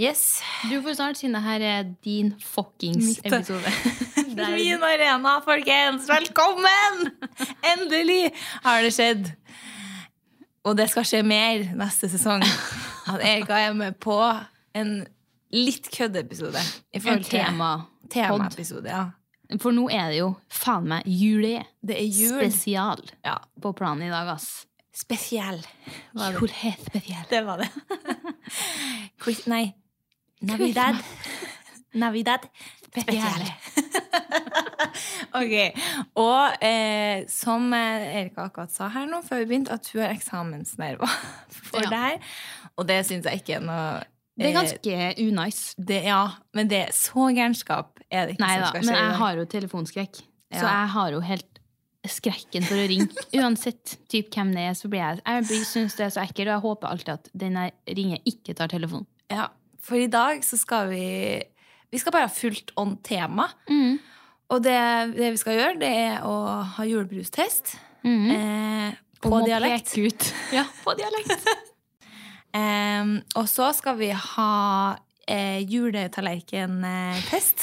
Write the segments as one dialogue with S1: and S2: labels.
S1: Yes.
S2: Du får snart si det her er din fuckings
S1: Mitt.
S2: episode. Der-
S1: Min arena, folkens! Velkommen! Endelig har det skjedd. Og det skal skje mer neste sesong. At Erika er med på en litt køddeepisode. i
S2: en
S1: forhold til
S2: tema.
S1: Temaepisode, ja.
S2: For nå er det jo faen meg jule
S1: Det er jul.
S2: spesial
S1: ja.
S2: på planen i dag, ass.
S1: Spesiell. var det.
S2: Jule spesial.
S1: Det var det. Chris, nei. Navidad. Navidad. Spesiell. ok. Og eh, som eh, Erika akkurat sa her nå før vi begynte, at hun har eksamensnerver for
S2: Ja.
S1: det her. Og det syns jeg ikke er noe
S2: Det er
S1: eh,
S2: ganske unice.
S1: det, Ja, men det er så gærenskap er det ikke
S2: Nei
S1: som
S2: da,
S1: skal
S2: men
S1: skje. i
S2: jeg
S1: dag.
S2: har jo telefonskrekk. Så
S1: Ja.
S2: jeg har jo helt skrekken for å ringe. Uansett typ hvem det er, så blir jeg Jeg blir- synes det er så ekkelt, og jeg håper alltid at den jeg ringer, ikke tar telefonen.
S1: Ja, for i dag så skal vi Vi skal bare ha fullt on tema.
S2: Mm.
S1: Og det, det vi skal gjøre, det er å ha julebrustest
S2: Mm.
S1: eh,
S2: Om
S1: på
S2: å
S1: dialekt.
S2: peke Ut. Ja, på dialekt.
S1: Eh, og så skal vi ha eh, juletallerkentest.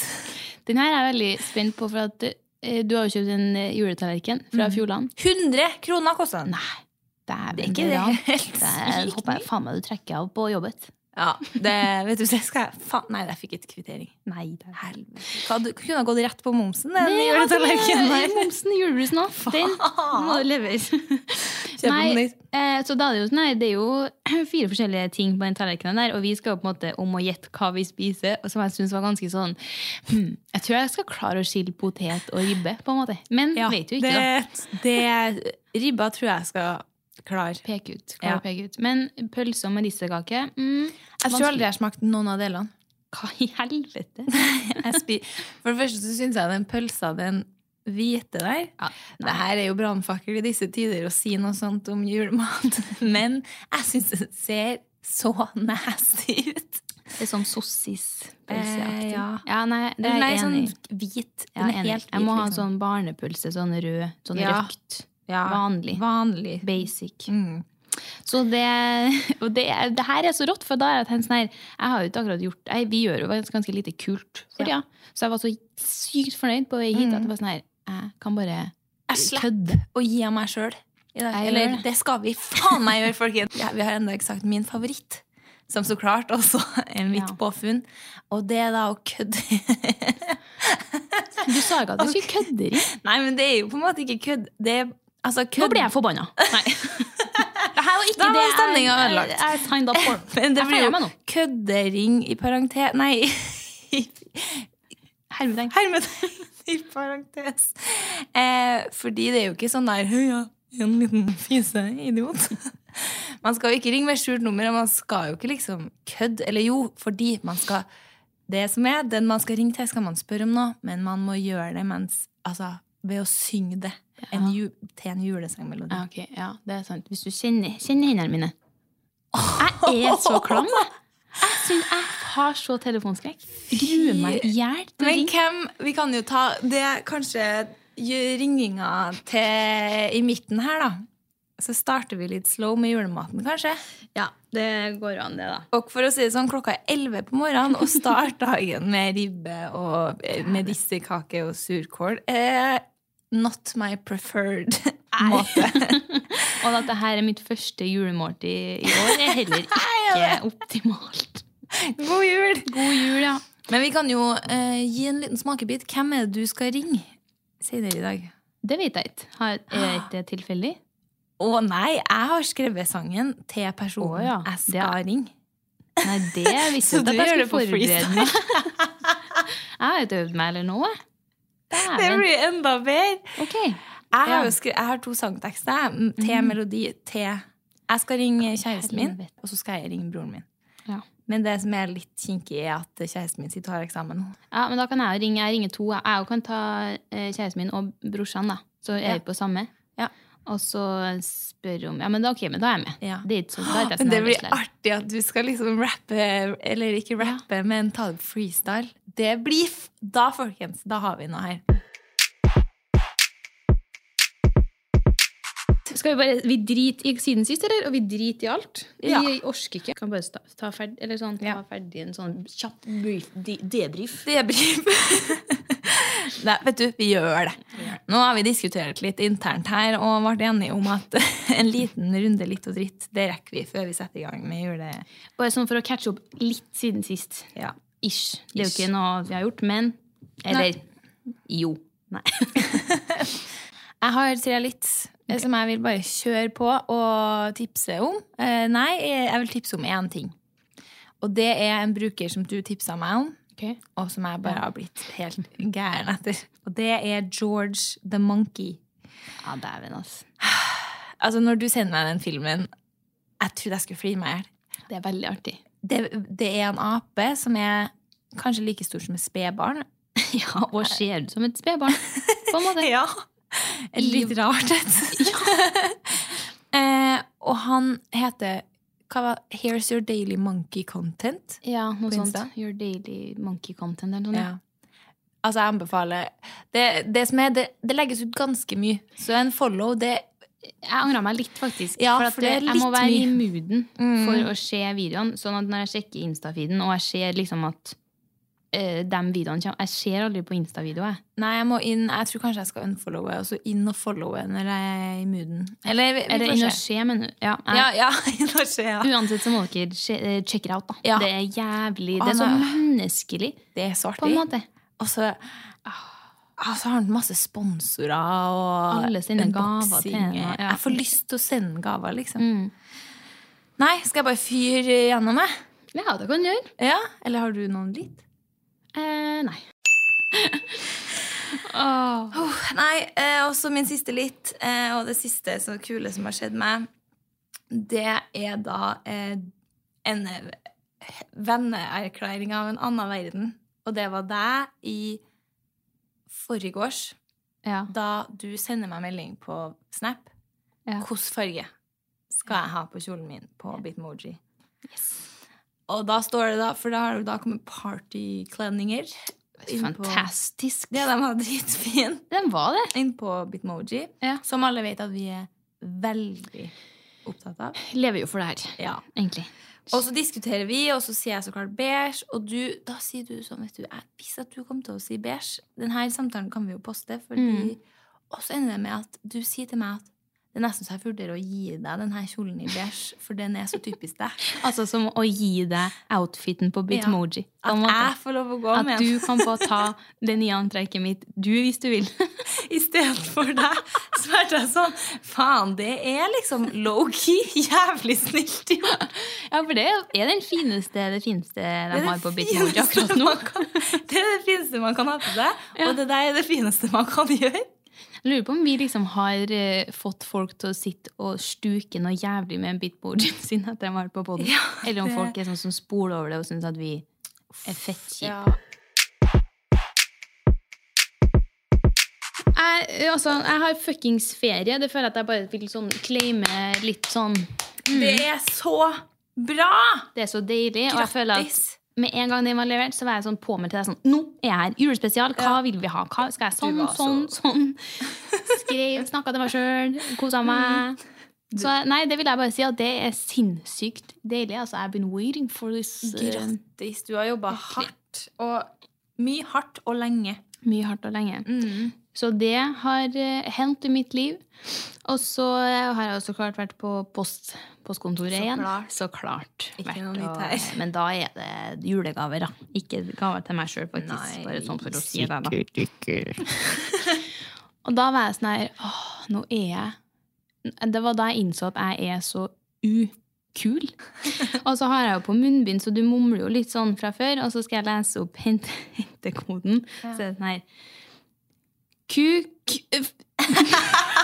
S2: Den her er jeg veldig spent på, for at eh, du har jo kjøpt en eh, juletallerken fra Fjordland.
S1: 100 kroner koster den.
S2: Nei, dæven.
S1: Mm. Det er ikke det
S2: ran.
S1: helt
S2: Det er-
S1: sykt
S2: håper jeg
S1: mye.
S2: faen meg du trekker av på jobbet.
S1: Ja, det, vet du, det skal jeg faen, Nei, jeg fikk ikke kvittering.
S2: Nei, det er
S1: Helvete. Hva, Du kunne ha gått rett på momsen, den
S2: Nei, altså,
S1: juletallerkenen
S2: det er
S1: der.
S2: Momsen i julebrusen nå. Den må
S1: Faen.
S2: leveres.
S1: Kjøp den på
S2: Nei,
S1: nytt.
S2: eh, så da er det, jo, sånn her, det er jo fire forskjellige ting på den tallerkenen der, og vi skal jo på en måte om å gjette hva vi spiser, og som jeg syns var ganske sånn hmm, Jeg tror jeg skal klare å skille potet og ribbe, på en måte. Men
S1: Ja,
S2: vet jo ikke, da.
S1: det, det, ribba tror jeg skal klare.
S2: Pek ut.
S1: Ja.
S2: Klar, å peke ut. Men pølse og medisterkake mm,
S1: Jeg tror aldri jeg har smakt noen av delene.
S2: Hva i helvete?
S1: Jeg spi- For det første så syns jeg den pølsa, den hvite der Det her er jo brannfakkel i disse tider å si noe sånt om julemat. Men jeg syns det ser så nasty ut.
S2: Det er sånn
S1: Eh,
S2: sossispølseaktig.
S1: ja.
S2: nei, det er
S1: Nei,
S2: jeg enig
S1: sånn
S2: i.
S1: hvit.
S2: Jeg,
S1: Den
S2: er
S1: er
S2: enig.
S1: helt hvit.
S2: jeg må ha en
S1: liksom.
S2: sånn barnepølse, sånn rød, sånn
S1: Ja.
S2: røkt.
S1: ja.
S2: Vanlig.
S1: Vanlig.
S2: Basic.
S1: Mm.
S2: Så det, og det, er- det her er så rått, for da er det sånn her Jeg har jo ikke akkurat gjort nei, Vi gjør jo ganske, ganske lite kult for tida. Så jeg var så sykt fornøyd på vei hit
S1: Mm.
S2: at det var sånn her Jeg kan bare
S1: Jeg slipper
S2: kødde.
S1: å gi av meg sjøl.
S2: Jeg
S1: Eller
S2: gjør det.
S1: det skal vi faen meg gjøre, folkens! Ja, vi har ennå ikke sagt min favoritt. Som så klart også er mitt
S2: Ja.
S1: påfunn. Og det er da å kødde
S2: Du sa ikke at vi skulle kødde. Ri.
S1: Nei, men det er jo på en måte ikke kødd. Det er altså kødd.
S2: Nå ble jeg forbanna. Nei. Det her var ikke
S1: Da var
S2: det jeg-
S1: stemningen ødelagt.
S2: Jeg, jeg signed up for.
S1: Men det
S2: Jeg
S1: blir
S2: feirer
S1: jo
S2: meg nå.
S1: køddering i parentes Nei,
S2: Hermetegn.
S1: hermetegn i parentes. Eh, fordi det er jo ikke sånn der Høya, en liten fiseidiot. Man skal jo ikke ringe med skjult nummer, og man skal jo ikke liksom kødde. Eller jo, fordi man skal Det som er, den man skal ringe til, skal man spørre om noe, men man må gjøre det mens Altså, ved å synge det en ju, til en julesangmelodi.
S2: Ja, Ah, ok, ja, det er sant. Hvis du kjenner, kjenner hendene mine Jeg er så klam, da. Jeg, synes jeg har så telefonskrekk. Gruer meg i hjel til å
S1: Men
S2: ringe.
S1: hvem Vi kan jo ta Det er kanskje gj- ringinga til i midten her, da. Så starter vi litt slow med julematen, kanskje.
S2: Ja, det går an, det, da.
S1: Og for å si det sånn, klokka er 11 på morgenen, og start dagen med ribbe og eh, medisterkake og surkål eh, Not my preferred måte.
S2: Og at det her er mitt første julemåltid i år, er heller ikke optimalt.
S1: God jul!
S2: God jul, ja.
S1: Men vi kan jo eh, gi en liten smakebit. Hvem er det du skal ringe senere i dag?
S2: Det vet jeg ikke. Har- Er ikke det tilfeldig?
S1: Å nei, jeg har skrevet sangen til personen
S2: Å ja,
S1: jeg
S2: det er-
S1: skal ringe.
S2: Nei, det
S1: Så
S2: visste jeg ikke
S1: du
S2: at jeg
S1: gjør
S2: skulle
S1: det på
S2: forberede meg. Jeg har ikke øvd meg eller noe.
S1: Det
S2: Dæven.
S1: blir enda bedre.
S2: Ok.
S1: Jeg har,
S2: Ja. Mhm.
S1: jo skrevet, jeg har to sangtekster jeg, m- til melodi til Jeg skal ringe kjæresten min,
S2: Helvete.
S1: og så skal jeg ringe broren min.
S2: Ja.
S1: Men det som er litt kinkig, er at kjæresten min sitter og har eksamen nå.
S2: ja, men da kan jeg jo ringe. Jeg ringer to. Jeg- Jeg kan ta eh, kjæresten min og brorsan, da. Så
S1: Ja.
S2: er vi på samme.
S1: Ja.
S2: Og så spør om Ja, men da, ok, men da er jeg med.
S1: Ja.
S2: Det er ikke så, da er ikke jeg sånn så
S1: Men det
S2: nervøs
S1: blir
S2: der.
S1: artig at du skal liksom rappe, eller ikke rappe, men ta det freestyle. Det blir f Da, folkens, da har vi noe her.
S2: Skal vi bare Vi driter i siden sist, eller? Og vi driter i alt? Vi
S1: Ja.
S2: orsker ikke. Kan bare ta, ta, ferd, eller sånn, ta
S1: Ja.
S2: ferdig en sånn kjapp brief- de- debrief.
S1: Debrief. Nei, vet du, vi gjør det. Nå har vi diskutert litt internt her og ble enige om at en liten runde litt og dritt, det rekker vi før vi setter i gang med jule...
S2: Bare sånn for å catche opp litt siden sist.
S1: Ja.
S2: Ish. Det er jo ikke noe vi har gjort, men Eller jo. Nei.
S1: Jeg har tre litt eh, som jeg vil bare kjøre på og tipse om. Eh, nei, jeg jeg vil tipse om én ting. Og det er en bruker som du tipsa meg om, og som jeg bare har blitt helt gæren etter. Og det er George the Monkey.
S2: Ja, dæven, altså.
S1: Altså, når du sender meg den filmen, jeg trodde jeg skulle flire meg i hjel.
S2: Det er veldig artig.
S1: det, det er en ape som er kanskje like stor som et spedbarn.
S2: Ja, og ser ut som et spedbarn. På en måte.
S1: Ja. Et litt rart et. eh, og han heter hva var, Here's Your Daily Monkey Content.
S2: Ja, noe
S1: På
S2: sånt.
S1: Insta?
S2: Your daily monkey content eller noe sånt.
S1: Ja. Altså, jeg anbefaler Det, det som er, det, det legges ut ganske mye. Så en follow, det
S2: Jeg angra meg litt, faktisk.
S1: Ja,
S2: for at
S1: for det er
S2: jeg må
S1: litt
S2: være
S1: mye.
S2: i mooden
S1: Mm.
S2: for å se videoene. Sånn at når jeg sjekker Insta-feeden, og jeg ser liksom at eh, de videoene kommer Jeg ser aldri på Insta-videoer, jeg.
S1: Nei, jeg må inn Jeg tror kanskje jeg skal unfollowe, og så inn og followe når jeg er i mooden. Eller vi,
S2: Eller
S1: vi
S2: inn
S1: får
S2: og
S1: se.
S2: se, men ja, jeg,
S1: Ja, ja, inn og se, ja.
S2: Uansett så må dere sje- eh, check it out, da.
S1: Ja.
S2: Det er jævlig Det
S1: Ah,
S2: er så
S1: nei.
S2: menneskelig,
S1: Det er så artig.
S2: på en måte.
S1: Og så ah, så har han masse sponsorer og
S2: Alle sine gaver til
S1: unboxing.
S2: henne, ja.
S1: eh, Jeg får lyst til å sende gaver, liksom.
S2: Mm.
S1: Nei, skal jeg bare fyre gjennom, jeg?
S2: Ja, det kan du gjøre.
S1: Ja? Eller har du noen litt?
S2: Eh, nei. Åh.
S1: Oh, nei, eh, også min siste litt, eh, og det siste så kule som har skjedd meg, det er da eh, en eh, venneerklæring av en annen verden. Og det var deg i forgårs.
S2: Ja.
S1: da du sender meg melding på Snap
S2: Ja.
S1: Hvilken farge skal jeg ha på kjolen min på Bitmoji?
S2: Yes.
S1: Og da står det da, for da har det da kommet partykledninger. inn på-
S2: Fantastisk.
S1: Det de var dritfin
S2: Den var det.
S1: inn på Bitmoji,
S2: Ja.
S1: som alle vet at vi er veldig opptatt av.
S2: Lever jo for det her,
S1: Ja.
S2: egentlig.
S1: Og så diskuterer vi, og så sier jeg så klart beige. Og du, da sier du sånn, vet du, jeg visste at du kom til å si beige. Denne samtalen kan vi jo poste. Fordi,
S2: Mm.
S1: Og så ender det med at du sier til meg at det er nesten så jeg vurderer å gi deg denne kjolen i beige, for den er så typisk deg.
S2: Altså som å gi deg outfiten på Bitmoji. På en
S1: At
S2: måte.
S1: jeg får lov å gå
S2: At
S1: med
S2: du
S1: den
S2: kan få ta det nye antrekket mitt du, hvis du vil.
S1: istedenfor deg. Så er det sånn Faen, det er liksom low-key jævlig snilt gjort.
S2: Ja, for det er den fineste, det fineste de
S1: det
S2: har på Bitmoji
S1: fineste
S2: akkurat nå.
S1: man kan- Det er det fineste man kan ha på seg, og det der er det fineste man kan gjøre.
S2: Jeg lurer på om vi liksom har eh, fått folk til å sitte og stuke noe jævlig med en Bitmoji sin etter de har vært på podden.
S1: Ja,
S2: Eller om
S1: det-
S2: folk er sånn som spoler over det og syns at vi er fett kjipe.
S1: Ja.
S2: Jeg, altså, jeg har fuckings ferie. Det føler jeg at jeg bare vil sånn claime litt sånn
S1: Det er så bra!
S2: Det er så deilig. Og jeg føler at
S1: Grattis!
S2: med en gang den var levert, så var jeg sånn påmeldt til deg sånn Nå er jeg her! Julespesial! Hva vil vi ha? Hva skal jeg
S1: Du
S2: sånn,
S1: var så-
S2: sånn, sånn? Skrev, snakka til meg sjøl,
S1: Mm.
S2: kosa meg. Så jeg- nei, det vil jeg bare si at det er sinnssykt deilig. Altså, I've been waiting for this. eh,
S1: Grattis. Du har jobba hardt. Og mye hardt og lenge.
S2: mye hardt og lenge. Så det har eh, hendt i mitt liv. Og så eh, har jeg også klart vært på post, postkontoret
S1: Så
S2: igjen.
S1: klart.
S2: Så klart.
S1: Ikke
S2: vært
S1: noe nytt
S2: og-
S1: her.
S2: Men da er det julegaver, da. Ikke gaver til meg sjøl, faktisk.
S1: Nei,
S2: bare sånn for å si det, da. og da var jeg sånn her Åh, nå er jeg Det var da jeg innså at jeg er så ukul. Og så har jeg jo på munnbind, så du mumler jo litt sånn fra før. Og så skal jeg lese opp hente, hentekoden. Så er det sånn her QQ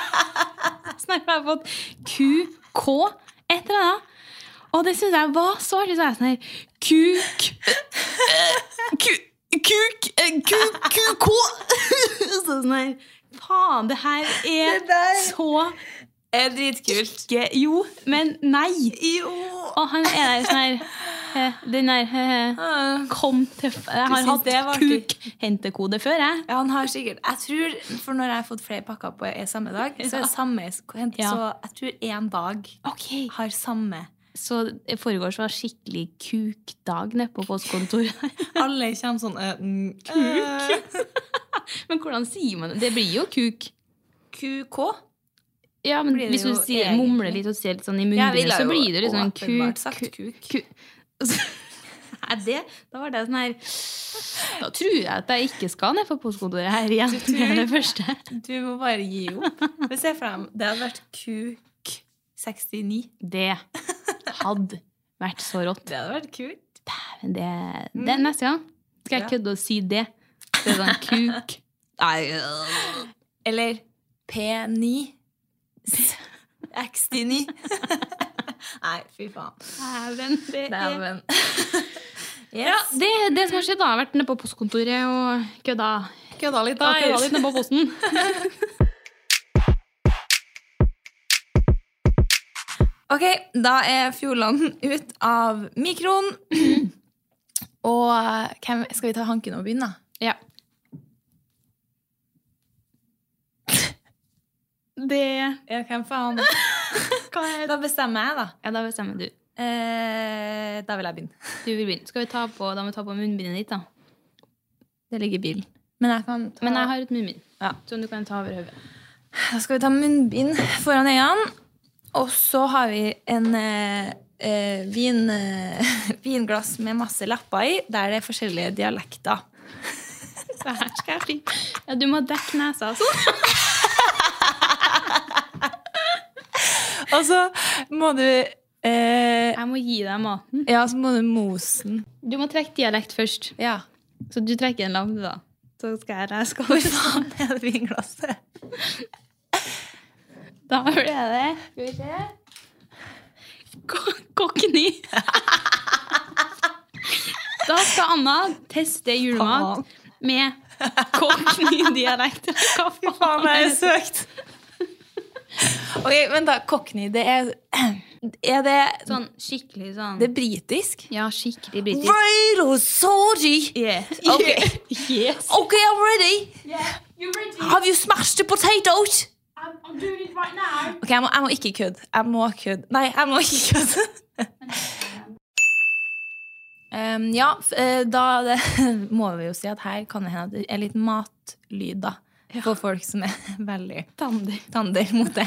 S2: Snart har jeg fått QK et eller annet. Og det syns jeg var så artig. Så er jeg sånn her Kuk Ku- Kuk eh, ku- QK Så Sånn her Faen, det her er
S1: Det der-
S2: så
S1: Det er dritkult.
S2: ikke Jo, men nei.
S1: Jo!
S2: Og han er der sånn her he, den der he, he.
S1: Ah.
S2: Kom til f Jeg
S1: synes
S2: har
S1: det var
S2: hatt
S1: artig?
S2: kuk-hentekode før, jeg.
S1: Ja, han har sikkert Jeg tror, For når jeg har fått flere pakker på er samme dag, så er det samme E
S2: Ja.
S1: Så jeg tror én dag
S2: Ok.
S1: har samme.
S2: Så i forgårs var skikkelig kukdag nede på postkontoret.
S1: Alle kommer sånn eh, mm, eh,
S2: Men hvordan sier man det? Det blir jo kuk.
S1: QK.
S2: Ja, men
S1: Blir det
S2: hvis du
S1: jo
S2: sier,
S1: egentlig?
S2: mumler litt og sier litt sånn i munnen,
S1: Jeg ville
S2: så
S1: jo
S2: blir det jo litt sånn
S1: åpenbart
S2: kuk.
S1: sagt kuk.
S2: kuk- kuk. Nei, det, da var det sånn her Da tror jeg at jeg ikke skal ned på postkontoret her igjen.
S1: Du tror
S2: Det er det
S1: ikke?
S2: første.
S1: Du må bare gi opp. Men se for deg, det hadde vært KUK69.
S2: Det hadde vært så rått.
S1: Det hadde vært kult.
S2: Men det, det neste gang skal jeg
S1: Ja.
S2: kødde og si det. Det er sånn kuk.
S1: øh. Eller P9. X9. Nei, fy faen.
S2: Dæven, det er
S1: Dæven.
S2: Ja,
S1: Yes.
S2: det, det som har skjedd, da, har vært nede på postkontoret og kødda.
S1: Kødda litt,
S2: Da kødda litt nede på posten.
S1: Ok, da er Fjordland ut av mikroen. Og øh, hvem, skal vi ta Hanken og begynne, da?
S2: Ja. Det
S1: Ja, hvem faen? Da bestemmer jeg, da.
S2: Ja, da bestemmer du.
S1: Eh, da vil jeg begynne.
S2: Du vil begynne. Skal vi ta på, da må vi ta på munnbindet ditt, da.
S1: Det ligger i bilen. Men jeg kan ta...
S2: Men jeg har et munnbind
S1: Ja.
S2: som du kan ta over hodet.
S1: Da skal vi ta munnbind foran øynene. Og så har vi en eh, eh, vin, eh, vinglass med masse lapper i, der det er forskjellige dialekter.
S2: Det her skal jeg fri. Ja, du må dekke nesa, altså.
S1: Og så må du eh,
S2: Jeg må gi deg maten.
S1: Ja, så må du mose den.
S2: Du må trekke dialekt først.
S1: Ja.
S2: Så du trekker en lampe, da. Så skal jeg jeg skal
S1: Hvor faen er det vinglasset?
S2: Da ble det Skal vi se Ko- Kokkeny. Da skal Anna teste julemat med kokkeny-dialekt. Hva
S1: Fy faen, det er
S2: er det?
S1: søkt! Ok, vent da. Cockney, det er Er det
S2: Sånn skikkelig sånn
S1: Det er britisk?
S2: Ja, skikkelig britisk.
S1: Very sorry!
S2: Yeah.
S1: Ok.
S2: Yes.
S1: Ok, I'm ready!
S2: Yeah. You're ready.
S1: Have you smashed the potatoes?
S2: I'm, I'm doing it right now.
S1: Ok, jeg må, jeg må ikke kødde. Jeg må kødde. Nei, jeg må ikke kødde. Em, ja, f- eh, da det, må vi jo si at her kan det hende at det er litt matlyd, da. For folk som er veldig
S2: Tander.
S1: tander mot det.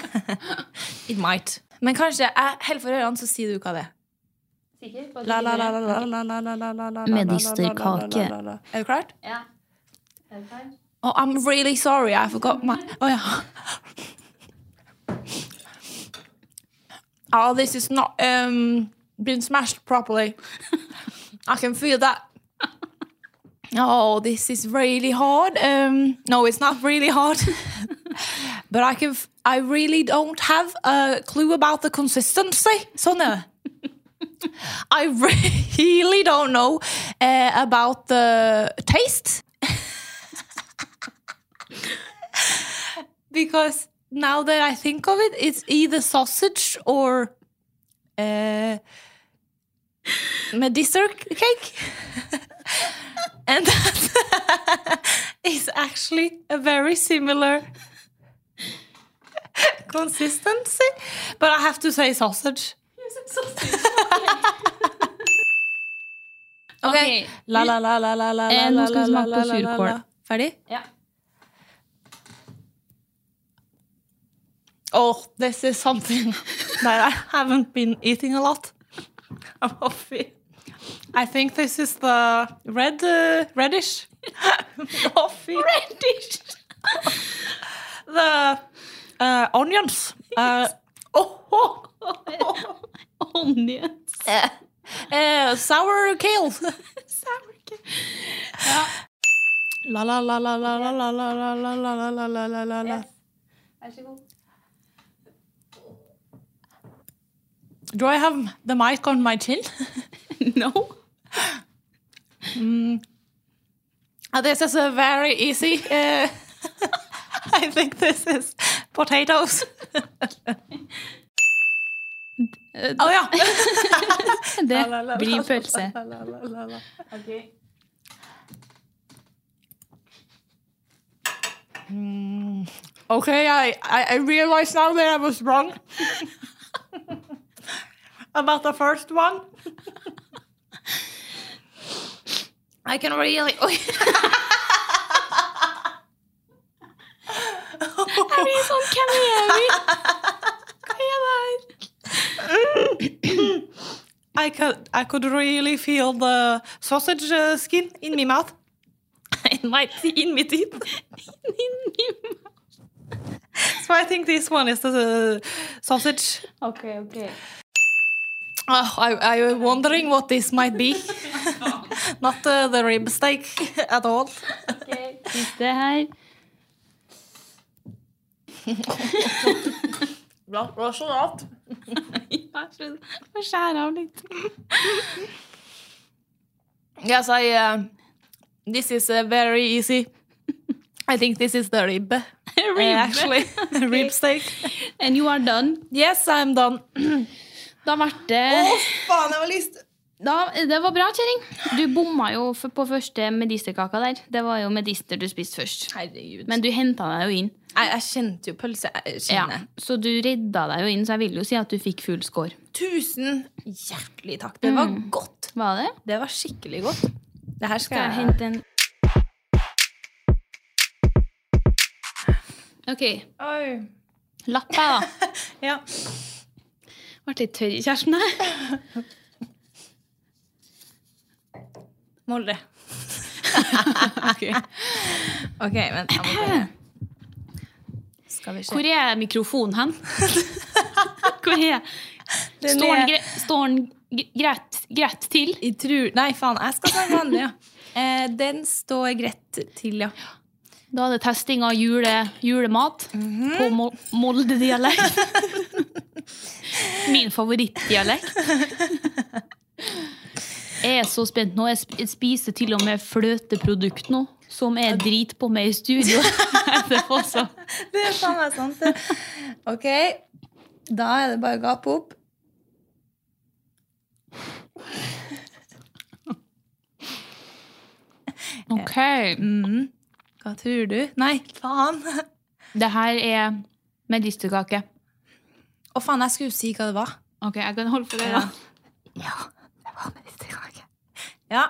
S1: It might. Men kanskje jeg holder for ørene, så sier du hva det er.
S2: Sikker? på at du
S1: La, la, la,
S2: sier
S1: la,
S2: det?
S1: la, la, la, la, la, la, la,
S2: Medisterkake.
S1: la, la, la, la. Er du klart?
S2: Ja. Er du klar?
S1: Oh, I'm really sorry, I forgot my Å ja. Oh, this is not um, been smashed properly. I can feel that. Oh, this is really hard. Um, no, it's not really hard. but I can. F I really don't have a clue about the consistency. So no. I really don't know uh, about the taste. because now that I think of it, it's either sausage or uh, medister cake. and that is actually a very similar consistency. But I have to say sausage.
S2: Ok.
S1: La, la, la, la, la, la,
S2: Eh,
S1: la,
S2: nå
S1: la,
S2: skal vi
S1: la, la,
S2: smake på
S1: la, la, la, la.
S2: surkål.
S1: Ferdig?
S2: Ja.
S1: Oh, this is something that I haven't been eating a lot. I'm off. I think this is the red uh, reddish. Coffee.
S2: Reddish.
S1: The uh, onions. Uh, oh, oh,
S2: Onions.
S1: uh, sour kales.
S2: Ja.
S1: La la la la la la la la la la la la la la la la.
S2: Vær så god.
S1: Do I have the mic on my chin?
S2: No.
S1: Uh, this is a very easy. Uh, I think this is potatoes.
S2: Eh,
S1: Å ja!
S2: Det blir pølse.
S1: Ok. Okay, I, I, I realize now that I was wrong about the first one. I can really. Oi.
S2: Jeg blir sånn Hvem er vi? Hva er det her?
S1: I could, I could really feel the sausage uh, skin in my mouth.
S2: In my teeth. In my teeth. In my
S1: So I think this one is the uh, sausage.
S2: Ok, ok.
S1: Oh, I, I was wondering what this might be. Not uh, the rib steak at all.
S2: Siste her.
S1: Rasjonalt.
S2: Få skjære av litt.
S1: Yes, I. Uh, this is uh, very easy. I think this is the rib. uh, actually, rib steak.
S2: Eh, And you are done.
S1: Yes, I'm done.
S2: Da ble det da, Det var bra, kjerring. Du bomma jo f- på første medisterkaka der. Det var jo medister du spiste først.
S1: Herregud.
S2: Men du henta deg jo inn.
S1: jeg, jeg kjente jo pølse. eh, Jeg
S2: Ja,
S1: kjenner.
S2: så du redda deg jo inn, så jeg vil jo si at du fikk full score.
S1: Tusen hjertelig takk. Det var godt.
S2: Var det?
S1: Det var skikkelig godt. Mm. Det her
S2: Skal
S1: skal
S2: jeg
S1: jeg
S2: hente en OK.
S1: Oi.
S2: Lapp her, da.
S1: Ja.
S2: Ble litt tørr i kjæresten her.
S1: Molde. Ok, vent. Jeg må bare Skal vi se.
S2: Hvor er mikrofonen hen? Hvor er Står den, gre står den gre- greit, greit til?
S1: Jeg tror- Nei, faen. Jeg skal ta den vanlige. Ja. Eh, den står greit til, ja.
S2: Da er det testing av jule, julemat
S1: Mhm.
S2: på Mol Molde-dialekt. Min favorittdialekt. Jeg er så spent nå. Jeg sp- Jeg spiser til og med fløteprodukt nå, som jeg driter på med i studio. Etterpå, så.
S1: Det er faen meg sant, det. Ok. Da er det bare å gape opp.
S2: Ok.
S1: Mm. Hva tror du? Nei, faen. Å,
S2: Det her er medisterkake.
S1: faen, jeg skulle jo si hva det var.
S2: Ok, jeg kan holde for det, da.
S1: Ja, det var medisterkake. Ja.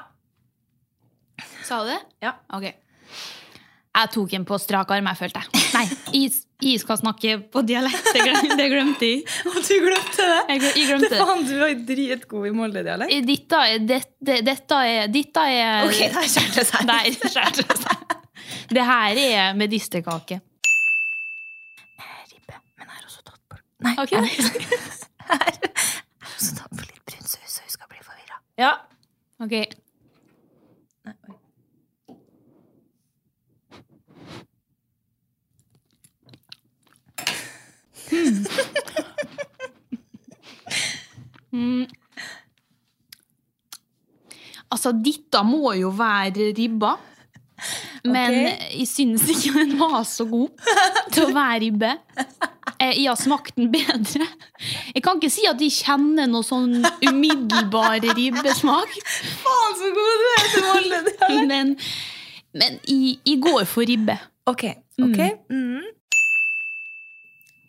S2: Sa du det?
S1: Ja.
S2: Ok. Jeg tok en på strak arm, jeg følte. Nei, jeg, jeg skal snakke på dialekt. Det glem- det glemte jeg.
S1: Og du glemte det?
S2: Jeg, glem- jeg glemte det. Eh,
S1: Faen, du er dritgod i Molde-dialekt.
S2: Dette er, det, det, dette er, dette er
S1: Ok, der skjærte det seg.
S2: Nei, skjært. Det her er medisterkake.
S1: Ribbe, men jeg har også tatt på Nei,
S2: Ok.
S1: jeg, jeg har også tatt på litt brun saus, så hun skal bli forvirra. Ja.
S2: Ok.
S1: Nei, oi.
S2: Mm. Altså, dette må jo være ribba. Men
S1: Ok.
S2: jeg syns ikke den var så god til å være ribbe. Eh, Jeg har smakt den bedre. Jeg kan ikke si at jeg kjenner noe sånn umiddelbar ribbesmak.
S1: Faen, så god du er til Molde-dialekt!
S2: Men, men jeg, jeg går for ribbe.
S1: Ok, ok. Mm.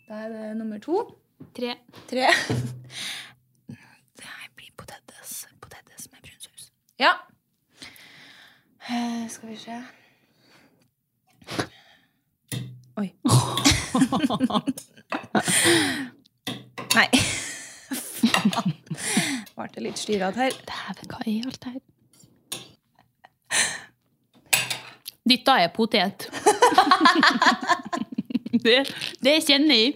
S1: Da er det nummer to.
S2: Tre.
S1: Tre. Det her blir potetes. Potetes med brun saus. Ja. Eh, skal vi se Oi. Nei. Faen. Ble litt styrete her.
S2: Dæven, hva er alt det her? Dette er potet. det, det kjenner jeg.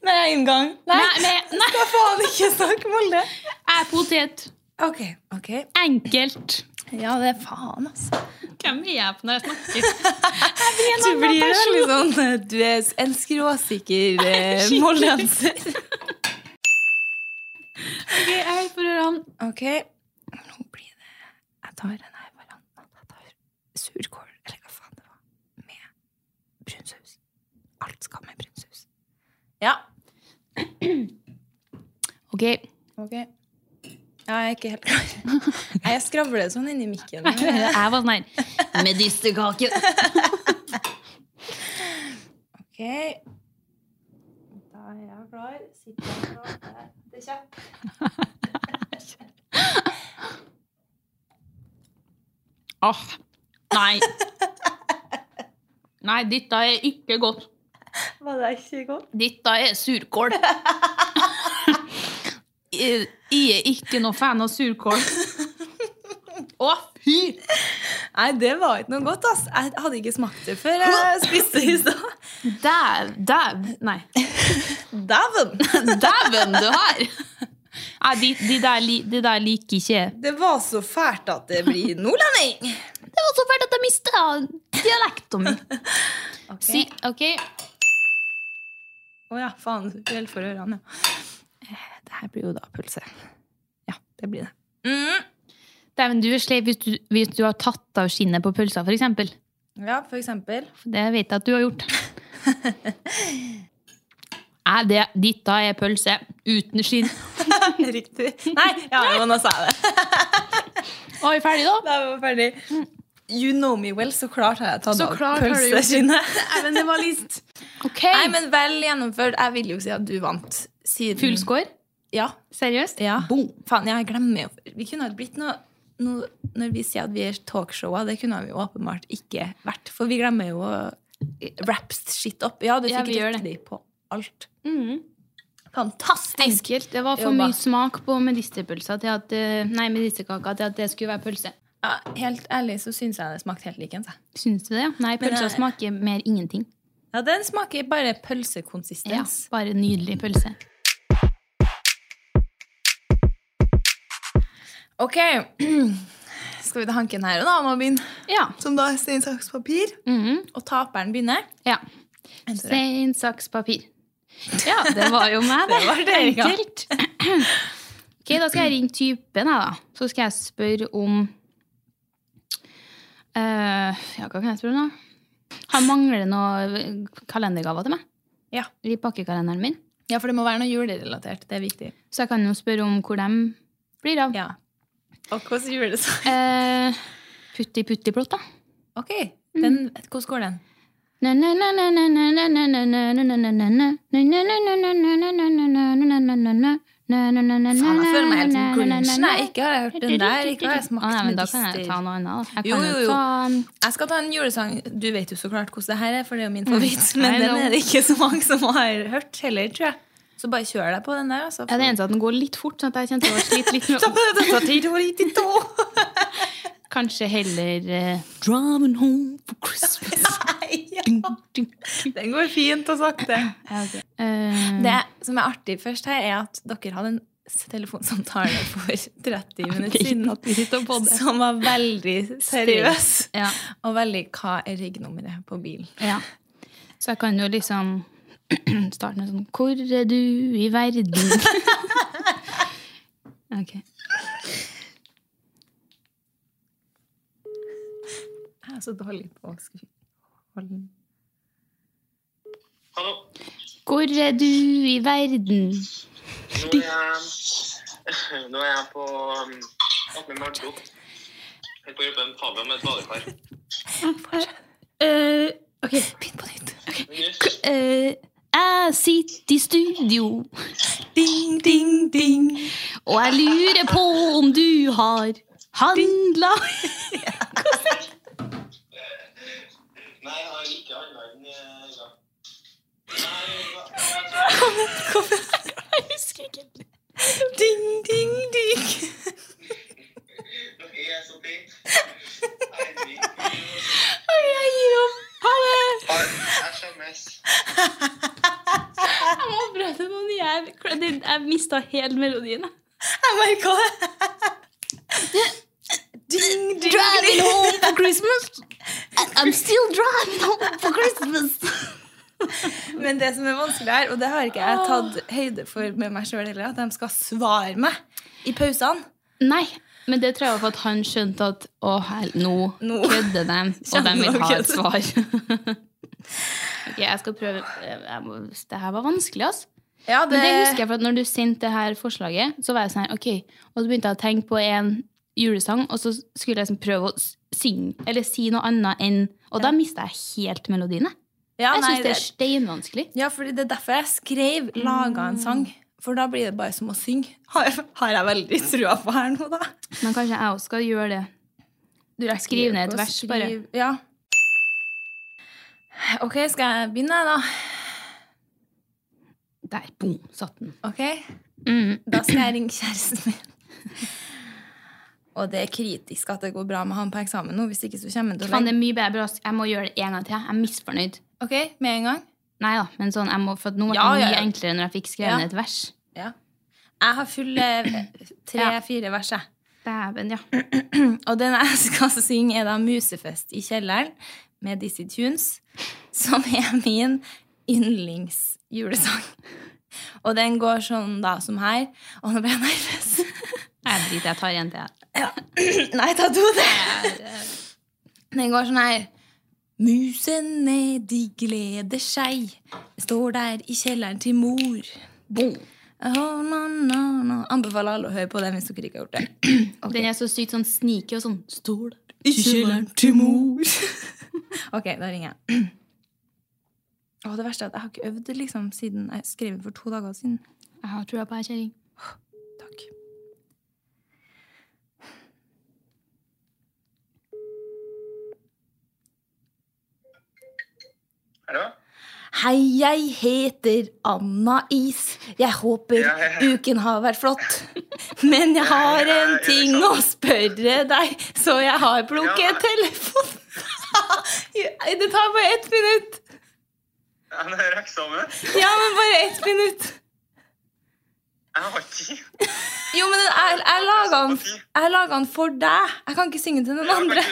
S1: Med én gang. Nei,
S2: Nei, men- nei,
S1: skal faen ikke snakke Molde.
S2: jeg er potet.
S1: Ok, ok.
S2: Enkelt.
S1: Ja, det er faen, altså.
S2: Hvem er jeg på når jeg snakker?
S1: Du blir veldig sånn eh, Du er en skråsikker eh, moldenser.
S2: Ok, jeg er for å høre han.
S1: Ok, nå blir det Jeg tar den her varianten. Jeg tar surkål, eller hva faen det var, med brun saus. Alt skal med brun saus. Ja.
S2: Ok, Ok,
S1: Ok. Ja, jeg er ikke helt klar. Nei, Jeg skravler sånn inni mikken.
S2: jeg var sånn her Medisterkake.
S1: Ok. Da er jeg klar. Sitter jeg klar? Det er kjapp.
S2: Åh, Ah, nei. Nei, dette er ikke godt.
S1: Var det ikke godt?
S2: Dette er surkål. Jeg jeg er ikke noe fan av surkål. Å, fy!
S1: Nei, det var ikke noe godt, ass. Jeg hadde ikke smakt det før jeg spiste i stad.
S2: Dæv... Dæv... Nei.
S1: Dæven!
S2: Dæven, du har! Nei, de, de, der, li- de der liker ikke jeg.
S1: Det var så fælt at det blir nordlending!
S2: Det var så fælt at jeg mista dialekten min.
S1: Ok.
S2: Si, ok.
S1: Å ja, faen. Vel for ørene, ja. Eh, Det her blir jo da pølse. Ja, det blir det.
S2: Dæven, du er sleip hvis, du- hvis du har tatt av skinnet på pølsa, for eksempel.
S1: Ja, for eksempel.
S2: For det vet jeg at du har gjort. Nei, det, dette er pølse uten skinn.
S1: Riktig. Nei, ja, jo, nå sa jeg det.
S2: Å, er vi ferdige, da?
S1: Da var vi ferdig. You know me well, så klart har jeg tatt
S2: Så
S1: av
S2: klart har du gjort det.
S1: pølseskinnet.
S2: men det var list. Ok.
S1: Nei, men vel gjennomført. Jeg vil jo si at du vant. Siden
S2: Full score?
S1: Ja.
S2: Seriøst?
S1: ja. Faen, jeg glemmer jo Vi kunne ha blitt noe, noe Når vi sier at vi er talkshowa, det kunne vi jo åpenbart ikke vært. For vi glemmer jo å wrap shit opp. Ja, du
S2: Ja,
S1: fikk
S2: vi gjør
S1: riktig på alt.
S2: Mm.
S1: Fantastisk!
S2: Enkelt. Det var for
S1: Jobba.
S2: mye smak på medisterpølsa til at eh, Nei, medisterkaka til at det skulle være pølse.
S1: Ja, helt ærlig så syns jeg det smakte helt likens. jeg.
S2: Syns du det? Nei, pølsa
S1: jeg-
S2: smaker mer ingenting.
S1: Ja, den smaker bare
S2: Ja,
S1: pølsekonsistens.
S2: bare nydelig pølse.
S1: Ok, skal vi ta hanken her og da må begynne?
S2: Ja.
S1: Som da er stein, saks, papir.
S2: Mhm.
S1: Og taperen begynner.
S2: ja.
S1: Det
S2: Stein, saks, papir. Ja, det var jo meg, det.
S1: var det, ja.
S2: Enkelt. Ok, da skal jeg ringe typen, jeg, da. Så skal jeg spørre om eh, Ja, hva kan jeg spørre om, da? Han mangler noen kalendergaver til meg.
S1: Ja.
S2: I pakkekalenderen min.
S1: ja, for det må være noe julerelatert. Det er viktig.
S2: Så jeg kan jo spørre om hvor de blir av.
S1: Ja. Og hvordan julesang?
S2: Eh, putti putti plott, da.
S1: Ok, den, hvordan går den? Faen, jeg føler meg helt som grunge. Nei, ikke har jeg hørt den der. Ikke har jeg smakt
S2: Å, nei, men Da kan jeg
S1: medister.
S2: ta noe annet. da. Jeg
S1: Jo,
S2: kan
S1: jo, jo.
S2: ta um,
S1: Jeg skal ta en julesang. Du vet jo så klart hvordan det her er, for det er jo min favoritt.
S2: I
S1: Men den
S2: know.
S1: er det ikke så mange som har hørt heller, tror jeg. Så bare kjør deg på den der, altså.
S2: ja, Det eneste er at den går litt fort, sånn at jeg kjente å slite litt med
S1: Nei,
S2: Kanskje heller eh, Driving home for Christmas.
S1: ja.
S2: Ding, ding, ding.
S1: Den går fint og sakte.
S2: Ja, ok. Eh,
S1: Det som er artig først her, er at dere hadde en s- telefonsamtale for 30 minutter
S2: Ok,
S1: siden
S2: at vi sitter på det.
S1: som var veldig seriøs.
S2: Ja.
S1: Og veldig 'hva er riggnummeret på bilen'?
S2: Ja. Så jeg kan jo liksom starte med sånn Hvor er du i verden? ok.
S1: Jeg er så dårlig på å skru holde
S3: Hallo.
S2: Hvor er du i verden?
S3: Nå er jeg, nå er jeg på um, oppe med Marto. Jeg bor på en pavillon med et badekar.
S2: Eh, ok.
S1: Begynn på nytt.
S3: Ok.
S2: Eh, jeg sitter i studio,
S1: Ding, ding, ding.
S2: og jeg lurer på om du har handla
S3: Nei, jeg har ikke all verden eh, i gang.
S2: Jeg husker ikke.
S1: Ding, ding, ding.
S3: Dere er så fint.
S2: Ok, Jeg gir opp. Ha det!
S3: SMS.
S2: Jeg må prøve noe nytt. Jeg, jeg mista hele melodien. jeg.
S1: Jeg merka det. Oh Ding, ding,
S2: Driving
S1: ding.
S2: home for Christmas. I'm still driving home for Christmas.
S1: Men det som er vanskelig her, og det har ikke jeg tatt høyde for med meg sjøl heller, at de skal svare meg i pausene.
S2: Nei, men det tror jeg var for at han skjønte at å, hel, nå
S1: Nå.
S2: kødder de, og de
S1: Kjenner
S2: vil ha
S1: dere
S2: et
S1: det?
S2: svar. ok, jeg skal prøve. Jeg må, det her var vanskelig, altså.
S1: Ja,
S2: Men det husker jeg, for at når du sendte det her forslaget, så var jeg sånn her, ok. Og så begynte jeg å tenke på en julesang, og så skulle jeg liksom prøve å s- synge, eller si noe annet enn Og da mista jeg helt melodien. jeg.
S1: Ja,
S2: jeg
S1: nei,
S2: syns det er steinvanskelig.
S1: Ja, fordi det er derfor jeg skrev 'laga
S2: Mm.
S1: en sang'. For da blir det bare som å synge. Har, har jeg veldig trua på her nå, da?
S2: Men kanskje jeg også skal gjøre det. Du rekker Skriv ned
S1: ikke
S2: et
S1: å
S2: vers, bare.
S1: skrive- Ja. Ok, skal jeg begynne, da?
S2: Der, boom, satt den.
S1: Ok,
S2: Mm.
S1: Da skal jeg ringe kjæresten min. Og det er kritisk at det går bra med han på eksamen nå. Hvis ikke så kommer han til å
S2: Faen,
S1: legge
S2: det er mye bedre. ass. Jeg må gjøre det en gang til. Jeg er misfornøyd.
S1: Ok, med en gang?
S2: Nei da, men sånn, jeg må, for at nå ble det
S1: Ja, ja,
S2: mye
S1: ja.
S2: enklere når jeg fikk skrevet
S1: Ja.
S2: ned et vers.
S1: Ja. Jeg har fulle
S2: Ja.
S1: tre-fire vers, jeg.
S2: Dæven, ja.
S1: Og den jeg skal altså synge, er da Musefest i kjelleren med Dizzie Tunes, som er min yndlingsjulesang. Og den går sånn da som her. Og nå ble jeg nervøs.
S2: Jeg driter, jeg tar en til. jeg.
S1: Nei, ta to til. Den går sånn her. Musene, de gleder seg. Står der i kjelleren til mor. Boom. Oh, no, no, no. Anbefaler alle å høre på den hvis dere ikke har gjort det.
S2: Den er så sykt sånn sneaky og sånn stol.
S1: I kjelleren til mor. ok, da ringer jeg. Å, det verste er at jeg har ikke øvd det, liksom, siden jeg skrev den for to dager siden.
S2: Jeg har trua på ei kjerring.
S1: Takk.
S3: Hallo?
S1: Hei, jeg heter Anna Is. Jeg håper
S3: Ja, ja.
S1: uken har vært flott. Men jeg har
S3: Ja,
S1: en
S3: ja,
S1: ting
S3: ja,
S1: å spørre deg, så jeg har
S3: Ja.
S1: plukket telefonen. det tar bare ett minutt.
S3: Ja, men det er eksamen.
S1: Ja, men bare ett minutt.
S3: Jeg har tid.
S1: Jo, men jeg, jeg laga den,
S3: Sympati.
S1: jeg laget den for deg. Jeg kan ikke synge til noen andre.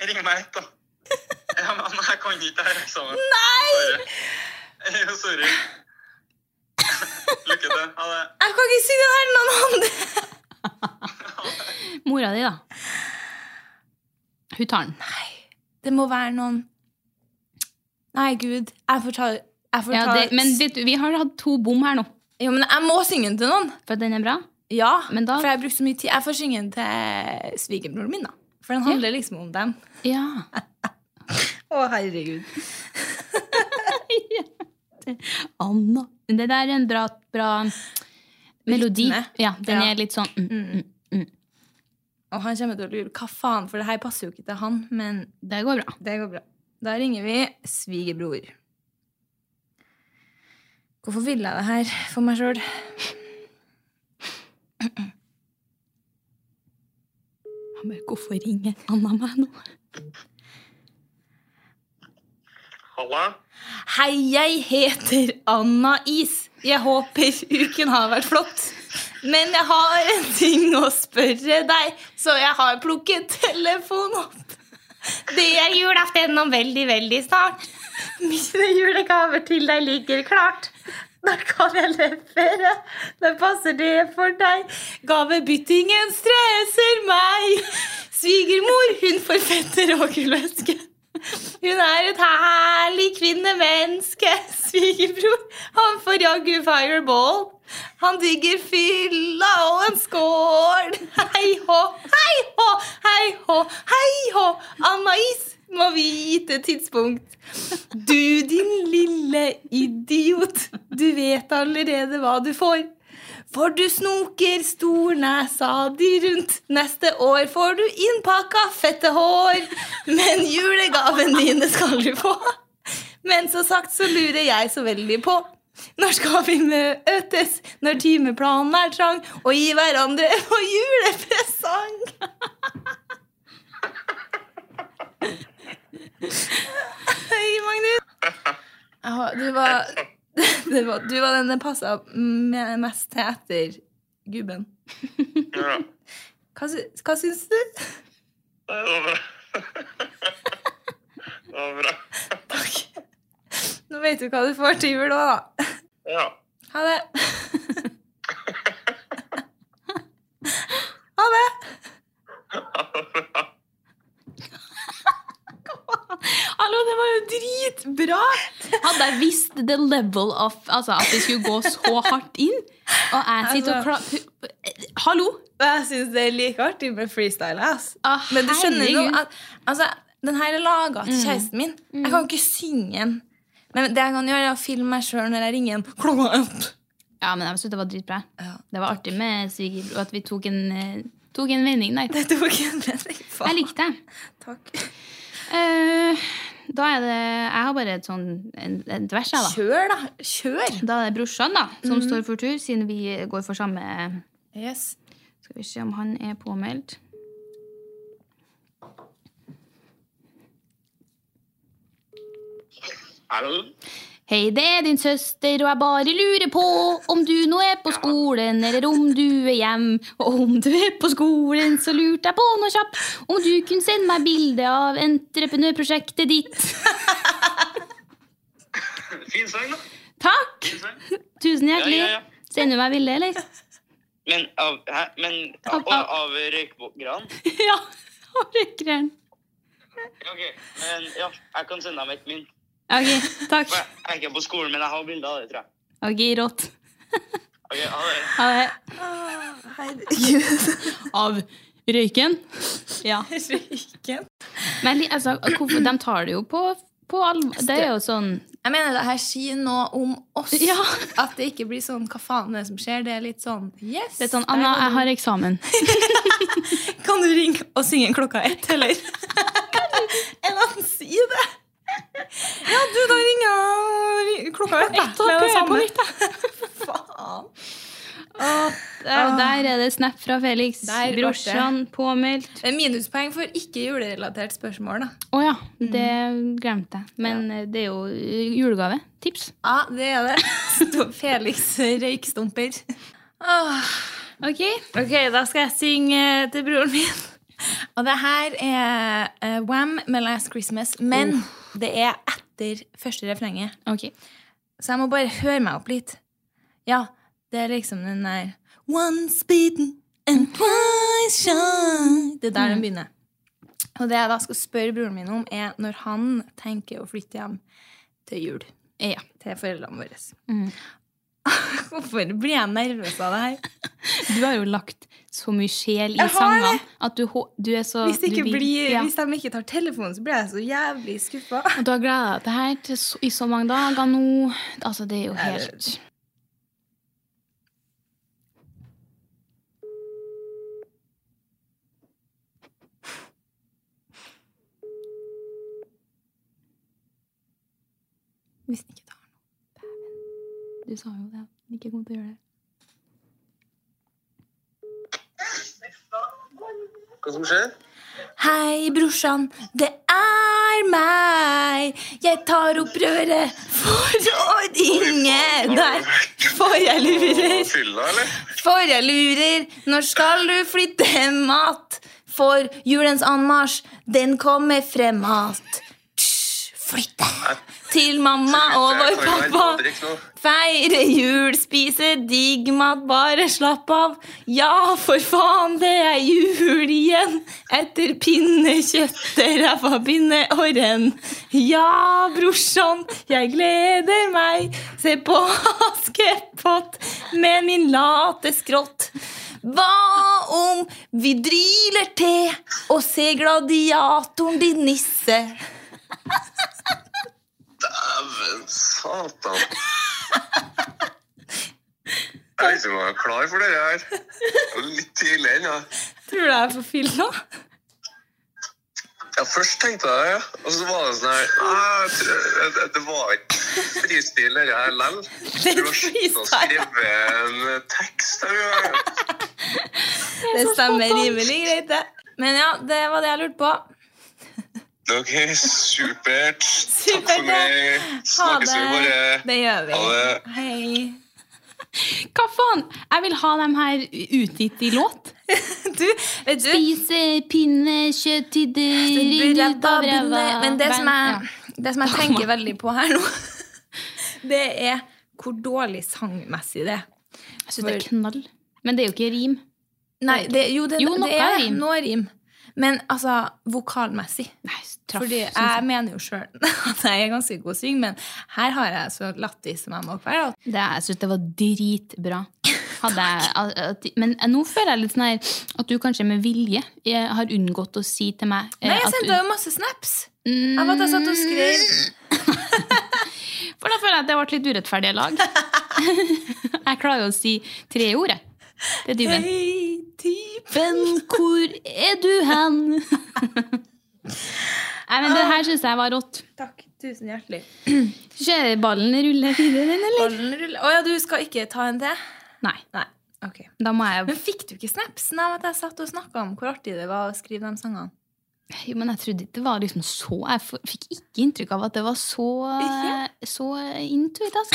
S3: Ring meg etter. Ja, men jeg kan ikke det her eksamen.
S1: Nei!
S3: Sorry. Jo, sorry. Lykke til. Ha det.
S1: Jeg kan ikke synge den her til noen andre.
S2: Mora di, da. Hun tar den.
S1: Det må være noen Nei, gud. Jeg får ta, jeg får
S2: Ja,
S1: ta...
S2: det, men vet du, vi har hatt to bom her nå.
S1: Jo, men jeg må synge den til noen.
S2: For at den er bra.
S1: Ja,
S2: Men da-
S1: For jeg har brukt så mye tid. Jeg får synge den til svigerbroren min, da. For den handler liksom om dem.
S2: Ja.
S1: Å, herregud.
S2: Anna. Det der er en bra, bra melodi.
S1: Rytme.
S2: Ja, den
S1: Ja.
S2: er litt sånn mm, mm.
S1: Og han kommer til å lure hva faen, for det her passer jo ikke til han, men
S2: Det går bra.
S1: Det går bra. Da ringer vi svigerbror. Hvorfor ville jeg det her for meg sjøl?
S2: Han bare, Hvorfor ringer Anna meg nå?
S3: Halla.
S1: Hei, jeg heter Anna Is. Jeg håper uken har vært flott. Men jeg har en ting å spørre deg, så jeg har plukket telefonen opp. Det er julaften om veldig, veldig snart. Mine julegaver til deg ligger klart. Da kan jeg levere. Da passer det for deg. Gavebyttingen stresser meg. Svigermor, hun får fetter og gullvæske. Hun er et herlig kvinnemenneske. Svigerbror, han får jaggu fireball. Han digger fylla og en skål. Hei hå, hei hå, hei hå, hei hå. Anna-Is må vite tidspunkt. Du, din lille idiot. Du vet allerede hva du får. For du snoker stornesa di rundt. Neste år får du innpakka fette hår. Men julegaven dine skal du få. Men så sagt så lurer jeg så veldig på. Når skal vi møtes? Når timeplanen er trang, og gi hverandre vår julepresang? Hei, Magnus. Jeg har- Du var det var, du var den det passa mest til etter gubben.
S3: Ja,
S1: Hva, sy- hva syns du?
S3: det var bra. Det var bra.
S1: Takk. Nå vet du hva du får til jul òg, da.
S3: Ja.
S1: Ha det. Ha det.
S3: Ja, det var bra.
S2: Hallo, det var jo drit!
S1: Bra.
S2: Hadde jeg visst the level of altså, at det skulle gå så hardt inn Og jeg sitter
S1: Altså-
S2: og kla... Hallo!
S1: Jeg syns det er like artig med freestyle. Ass.
S2: Å,
S1: Ah, Men du skjønner jo
S2: herregud.
S1: at altså, Den her er laga til kjæresten min. Jeg kan jo ikke synge den. Men det jeg kan gjøre, er å filme meg sjøl når jeg ringer den klokka ett.
S2: Ja, men jeg synes det var dritbra.
S1: Ja.
S2: Det var artig med svigerbror, at vi tok en, eh, tok en vending der.
S1: Det tok en mening.
S2: Jeg
S1: Faen.
S2: likte det.
S1: Takk.
S2: Eh, da er det Jeg har bare et sånn en, et vers, jeg, da.
S1: Kjør, da. Kjør.
S2: Da er det brorsan da, som
S3: Mhm.
S2: står for tur, siden vi går for samme
S1: Yes.
S2: Skal vi se om han er påmeldt.
S3: Hallo?
S2: Hei, det er din søster, og jeg bare lurer på om du nå er på skolen, eller om du er hjem. Og om du er på skolen, så lurte jeg på noe kjapt. Om du kunne sende meg bilde av entreprenørprosjektet ditt.
S3: Fin sang, da.
S2: Takk!
S3: Fin sang.
S2: Tusen hjertelig.
S3: Ja, ja, ja.
S2: Sender du meg bilde, eller?
S3: Men av, hæ? Men
S2: Av-
S3: av,
S2: av-
S3: av røykgran?
S2: ja. Orker den.
S3: Ok, men ja, jeg kan sende dem et mynt.
S2: Ok, takk.
S3: For jeg jeg er ikke på skolen, men jeg har bilder av det, tror jeg.
S2: Ok, rått.
S3: Ok, ha det.
S2: Ha det.
S1: Herregud.
S2: Av røyken? Ja.
S1: Røyken.
S2: Men li- altså, hvorfor, de tar det jo på, på alvor. Det er jo sånn
S1: Jeg mener det her sier noe om oss.
S2: Ja.
S1: At det ikke blir sånn 'hva faen er det som skjer'? Det er litt sånn yes.
S2: Det er sånn, Anna, jeg har eksamen.
S1: Kan du ringe og synge klokka ett, eller? Eller han sier det? Ja, du, da ringer jeg ring- klokka ett. da.
S2: Ett, da
S1: Det er det
S2: prøver jeg på
S1: samme.
S2: nytt,
S1: Faen.
S2: Der, der er det snap fra Felix.
S1: Der ble det.
S2: Brorsan påmeldt.
S1: Det er Minuspoeng for ikke julerelatert spørsmål, da.
S2: Å ja,
S1: Mm.
S2: det glemte jeg. Men eh, det er jo eh, julegave. Tips.
S1: Ja, det er det. Ah. Sto- Felix røykstumper. Åh.
S2: Ok.
S1: Ok, da skal jeg synge til broren min. Og det her er eh, Wham med Last Christmas, men det er etter første refrenget. Så jeg må bare høre meg opp litt. Ja, det er liksom den der Once beaten and twice shy. Det er der den begynner. Og det jeg da skal spørre broren min om, er når han tenker å flytte hjem til jul.
S2: Ja.
S1: Til foreldrene våre.
S2: Mm.
S1: Hvorfor blir jeg nervøs av det her?
S2: Du har jo lagt så mye sjel i
S1: Jeg har
S2: sangene at du, hå- du er så
S1: Hvis, det ikke
S2: du vil-
S1: blir,
S2: ja.
S1: hvis de ikke tar telefonen, så blir jeg så jævlig skuffa.
S2: Og du har gleda deg til her til så, i så mange dager nå. Altså, det er jo
S1: Er det-
S2: helt
S1: Hvis den ikke tar den.
S2: Du sa jo det. at du Ikke kom til å gjøre det.
S3: Hva som skjer?
S1: Hei, brorsan, det er meg. Jeg tar opp røret for å ringe deg. For jeg lurer.
S3: Fylla, eller?
S1: For jeg lurer, når skal du flytte hjem att? For julens anmarsj, den kommer frem att. Hysj, Flytte til mamma og vår pappa. Feire jul, spise digg mat, bare slapp av. Ja, for faen, det er jul igjen. Etter pinnekjøtt, ræva, pinne og renn. Ja, brorsan, jeg gleder meg. Se på Askepott med min late skrått. Hva om vi dryler til og ser gladiatoren din nisse?
S3: Dæven satan. Jeg er liksom bare klar for det her. Det var Litt tidlig ennå.
S1: Tror du jeg er for fylla?
S3: Ja, først tenkte jeg det, ja. og så var det sånn her «Ah, jeg tror- det- Det var ikke fristil, det her lell.
S1: er
S3: Du har sluttet å
S1: freestyle.
S3: skrive en tekst. her, ja.
S1: Det stemmer rimelig greit, det. Men ja, det var det jeg lurte på.
S3: Ok, supert. Takk
S1: Supert,
S3: for
S1: ja.
S3: meg.
S1: Ha
S3: Snakkes vi
S1: det.
S3: bare.
S1: Det gjør vi.
S3: Ha det.
S1: Hei.
S2: Hva faen? Jeg vil ha dem her utgitt i låt.
S1: Du, vet du,
S2: Spise pinnekjøtt til det rinner ut
S1: ræva,
S2: av ræva.
S1: binne- Men det som jeg, det som jeg tenker veldig på her nå, det er hvor dårlig sangmessig det er.
S2: Jeg syns det er knall. Men det er jo ikke rim.
S1: Nei, det, jo, det,
S2: Jo, noe
S1: det er
S2: er rim.
S1: noe rim. Men altså, vokalmessig
S2: Nei, traff.
S1: Fordi
S2: synes
S1: jeg mener jo sjøl at jeg er ganske god til å synge, men her har jeg så lattis som jeg må være. da.
S2: Det, jeg synes det var dritbra. Hadde jeg, al- at, men nå føler jeg litt sånn her at du kanskje med vilje eh, har unngått å si til meg eh,
S1: Nei, jeg
S2: at
S1: sendte
S2: du,
S1: jo masse snaps! Jeg var da satt og skrev.
S2: Mm. For da føler jeg at det ble litt urettferdige lag. jeg klarer jo å si tre ord, jeg. Det er dyven.
S1: Hei, type.
S2: hvor er du hen? Nei, men det her syns jeg var rått.
S1: Takk. Tusen hjertelig.
S2: Skjer ballen ruller videre, den, eller?
S1: Ballen ruller. Å ja, du skal ikke ta en til?
S2: Nei.
S1: Nei. ok.
S2: Da må jeg
S1: Men fikk du ikke snapsen av at jeg satt og snakka om hvor artig det var å skrive de sangene?
S2: Jo, men jeg trodde ikke det var liksom så Jeg f- fikk ikke inntrykk av at det var så, eh, så intuit, altså.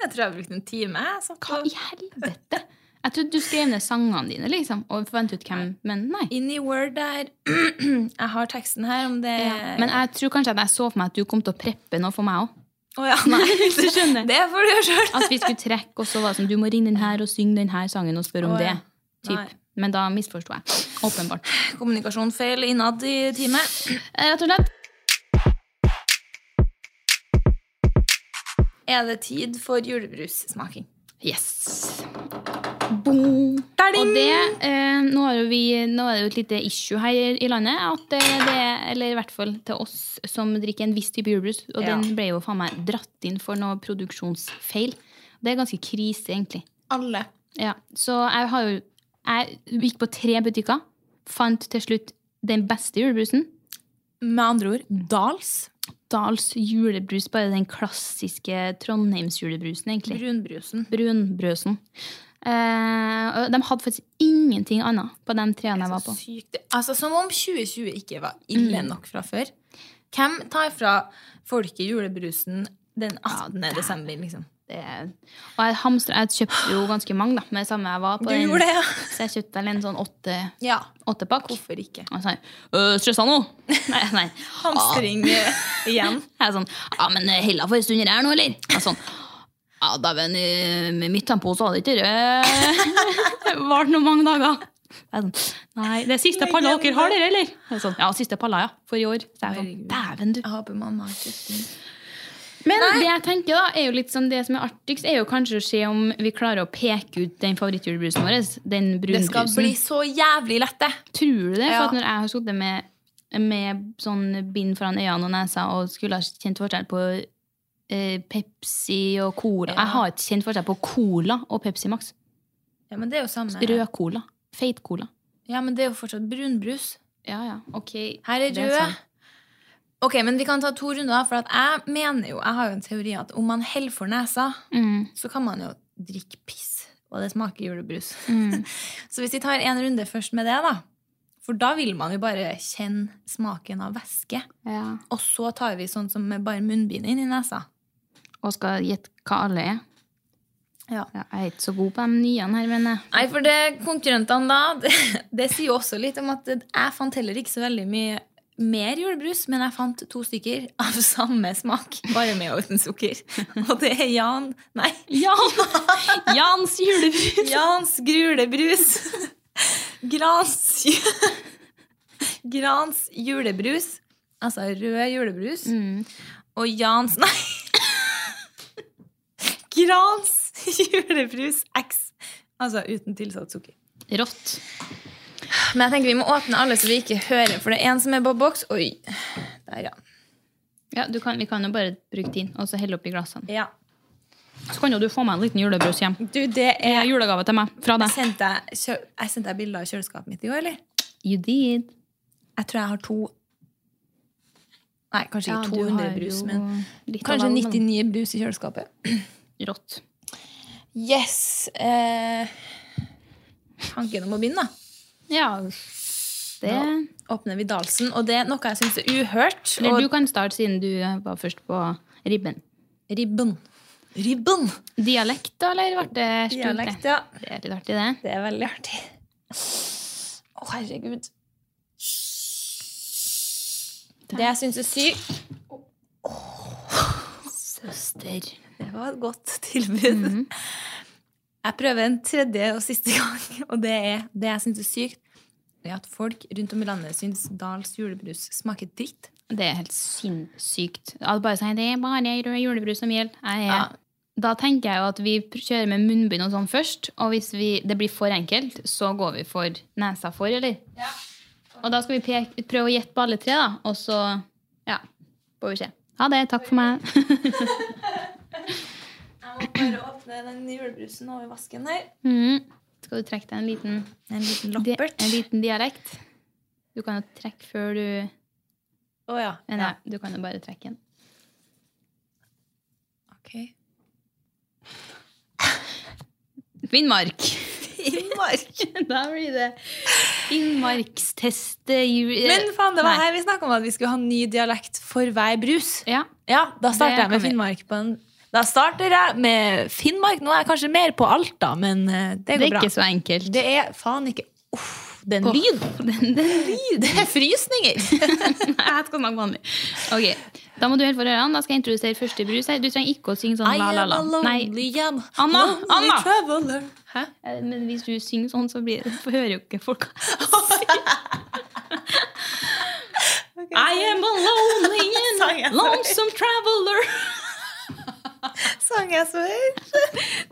S1: Jeg tror jeg brukte en time. Jeg satt
S2: Hva
S1: og
S2: i helvete? Jeg trodde du skrev ned sangene dine, liksom, og forventet ut hvem Men nei.
S1: inn i Word der. Jeg har teksten her, om det
S2: Men jeg tror kanskje at jeg så for meg at du kom til å preppe noe for meg òg.
S1: Å ja, nei.
S2: Du skjønner.
S1: Det får du gjøre sjøl.
S2: At vi skulle trekke, og så var det sånn Du må ringe den her og synge den her sangen og spørre om
S1: Å, ja.
S2: det. Typ.
S1: Nei.
S2: Men da misforsto jeg. Åpenbart.
S1: Kommunikasjonsfeil innad i teamet.
S2: Eh, Rett og slett.
S1: Er det tid for julebrussmaking?
S2: Yes. Boom. Og det, eh, nå, har jo vi, nå er det jo et lite issue her i landet. At eh, det, eller i hvert fall til oss som drikker en viss type julebrus. Og
S1: Ja.
S2: den ble jo faen meg dratt inn for noe produksjonsfeil. Det er ganske krise, egentlig.
S1: Alle.
S2: Ja, Så jeg har jo Jeg gikk på tre butikker. Fant til slutt den beste julebrusen.
S1: Med andre ord Dals.
S2: Dals julebrus, bare den klassiske Trondheims-julebrusen, egentlig.
S1: Brunbrusen.
S2: Brunbrøsen. Eh, og de hadde faktisk ingenting annet på de treene jeg var på. Mm.
S1: Sykt. Altså, som om 2020 ikke var ille nok fra før. Hvem tar fra folket julebrusen den 18. desember, liksom?
S2: Det, og jeg hamstra Jeg kjøpte jo ganske mange, da, med det samme jeg var på.
S1: Du
S2: den.
S1: gjorde det, ja.
S2: Så jeg kjøpte vel en sånn åtte,
S1: Ja.
S2: åttepakk. Og
S1: Hvorfor ikke?
S2: så sa jeg, «Øh, stressa nå? Nei, nei.
S1: Hamstring eh, igjen.
S2: Jeg er sånn Ja, men hella for en stund her nå, eller? Jeg er sånn Ja, dæven, eh, med mitt tempo så hadde ikke det vart noe mange dager. Jeg er sånn, Nei, det er siste palla dere har, dere, eller? Jeg er Sånn, ja, siste palla, ja. For i år. Så jeg er sånn,
S1: Herregud.
S2: Dæven, du.
S1: Jeg håper mamma har kjøpt den.
S2: Men det jeg tenker da, er jo litt sånn det som er artigst, er jo kanskje å se om vi klarer å peke ut den favorittjulebrusen vår. Den
S1: Det skal
S2: brunbrusen.
S1: bli så jævlig lett, det.
S2: Tror du det? For
S1: Ja.
S2: at når jeg har sittet med, med sånn bind foran øynene og nesa og skulle ha kjent forskjell på eh, Pepsi og Cola
S1: Ja.
S2: Jeg har ikke kjent forskjell på Cola og Pepsi Max.
S1: Ja, men det er jo samme.
S2: Rød Cola. Feit Cola.
S1: Ja, men det er jo fortsatt brunbrus.
S2: Ja, ja. Ok.
S1: Her er
S2: Det
S1: rød.
S2: sant.
S1: Ok, men vi kan ta to runder, da, for at jeg mener jo, jeg har jo en teori at om man heller for nesa,
S2: Mm.
S1: så kan man jo drikke piss, og det smaker julebrus.
S2: Mm.
S1: så hvis vi tar en runde først med det, da, for da vil man jo bare kjenne smaken av væske,
S2: Ja.
S1: og så tar vi sånn som med bare munnbind inn i nesa.
S2: Og skal gjette hva alle er.
S1: Ja.
S2: Ja, jeg er ikke så god på de nye her, men eh. jeg
S1: Nei, for det konkurrentene da, det, det sier jo også litt om at jeg fant heller ikke så veldig mye mer julebrus, men jeg fant to stykker av samme smak, bare med og uten sukker. Og det er Jan, nei,
S2: Jan! Jans julebrus!
S1: Jans grulebrus. Grans Grans julebrus. Altså rød julebrus.
S2: Mm.
S1: Og Jans Nei! Grans julebrus X. Altså uten tilsatt sukker.
S2: Rått.
S1: Men jeg tenker vi må åpne alle så vi ikke hører, for det er en som er på boks. Oi. Der, ja.
S2: Ja, du kan, vi kan jo bare bruke din, og så helle oppi glassene.
S1: ja.
S2: Så kan jo du få meg en liten julebrus hjem.
S1: Du, det
S2: Eh,
S1: er
S2: Julegave til meg fra deg.
S1: Sendte jeg, kjø- jeg sendte deg bilder av kjøleskapet mitt i går, eller?
S2: You did.
S1: Jeg tror jeg har to Nei, kanskje ikke 200 brus, men
S2: litt av
S1: Kanskje
S2: alle, men
S1: 99 brus i kjøleskapet.
S2: Rått.
S1: Yes! Eh, tanken om å begynne, da.
S2: Ja, det
S1: Åpner vi Dalsen, og det er noe jeg syns er uhørt.
S2: Eller du kan starte, siden du var først på ribben.
S1: Og ribben. Ribben!
S2: Dialekt, da, eller ble det stumt?
S1: Dialekt,
S2: det?
S1: ja.
S2: Det er litt artig, det.
S1: Det er veldig artig. Å, herregud. Det jeg syns er sykt
S2: Søster.
S1: Det var et godt tilbud. Jeg prøver en tredje og siste gang, og det er det jeg syns er sykt. det at folk rundt om i landet syns Dals julebrus smaker dritt.
S2: Det er helt sinnssykt. At bare sier det er bare rød julebrus som gjelder. Nei, ja.
S1: Ja.
S2: Da tenker jeg jo at vi pr- kjører med munnbind og sånn først. Og hvis vi, det blir for enkelt, så går vi for nesa for, eller? Og da skal vi peke, prøve å gjette på alle tre, da. Og så ja, får vi se. Ha det. Takk for meg.
S1: Jeg må bare åpne den julebrusen over vasken her.
S2: Mhm. Skal du trekke deg en liten,
S1: En liten
S2: di
S1: loppert.
S2: en liten dialekt? Du kan jo trekke før du
S1: Å ja.
S2: Nei, du kan jo bare trekke den.
S1: Ok.
S2: Finnmark!
S1: Finnmark.
S2: da blir det Finnmarkstest eh, jul... eh,
S1: Men faen, det var
S2: nei.
S1: her vi snakka om at vi skulle ha ny dialekt for hver brus.
S2: Ja.
S1: Ja, da starter
S2: Det
S1: jeg med
S2: kan vi.
S1: Finnmark på en Da starter jeg med Finnmark. Nå er jeg kanskje mer på Alta, men eh, det
S2: Det
S1: går
S2: er
S1: bra.
S2: ikke så enkelt.
S1: Det er faen ikke Uff, den
S2: Åh,
S1: lyden!
S2: Den, den lyd.
S1: Det er frysninger!
S2: Nei, jeg skal snakke vanlig. Ok, Da må du helt få ørene. Da skal jeg introdusere første brus. her. Du trenger ikke å synge sånn
S1: I
S2: la, la,
S1: am
S2: la.
S1: a
S2: Nei,
S1: lonely am
S2: Anna,
S1: lonely
S2: Anna!
S1: traveler. Hæ?
S2: eh, men hvis du synger sånn, så blir, får- hører jo ikke folk I am a lonely
S1: Sang jeg
S2: and
S1: så
S2: lonesome traveler.
S1: Sang jeg så høyt?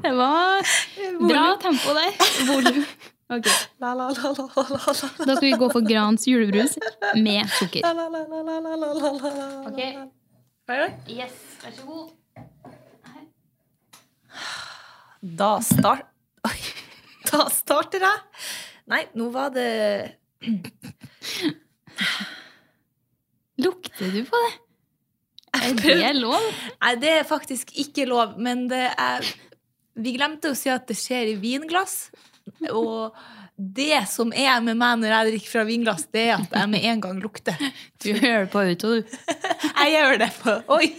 S2: Det var bra tempo der. Volum. Ok,
S1: La, la, la, la, la, la, la,
S2: Da skal vi gå for Grans julebrus med sukker.
S1: la, la, la, la, la, la, la, la, la.
S2: Ok.
S1: Hva gjør du?
S2: Yes, vær så god.
S1: Da start... Oi. Da starter jeg. Nei, nå var det
S2: Lukter du på det? Er det lov?
S1: Nei, det er faktisk ikke lov, men det er Vi glemte å si at det skjer i vinglass. Og det som er med meg når jeg drikker fra vinglass, det er at jeg med en gang lukter.
S2: Du hører på auto, du.
S1: Jeg gjør det på Oi!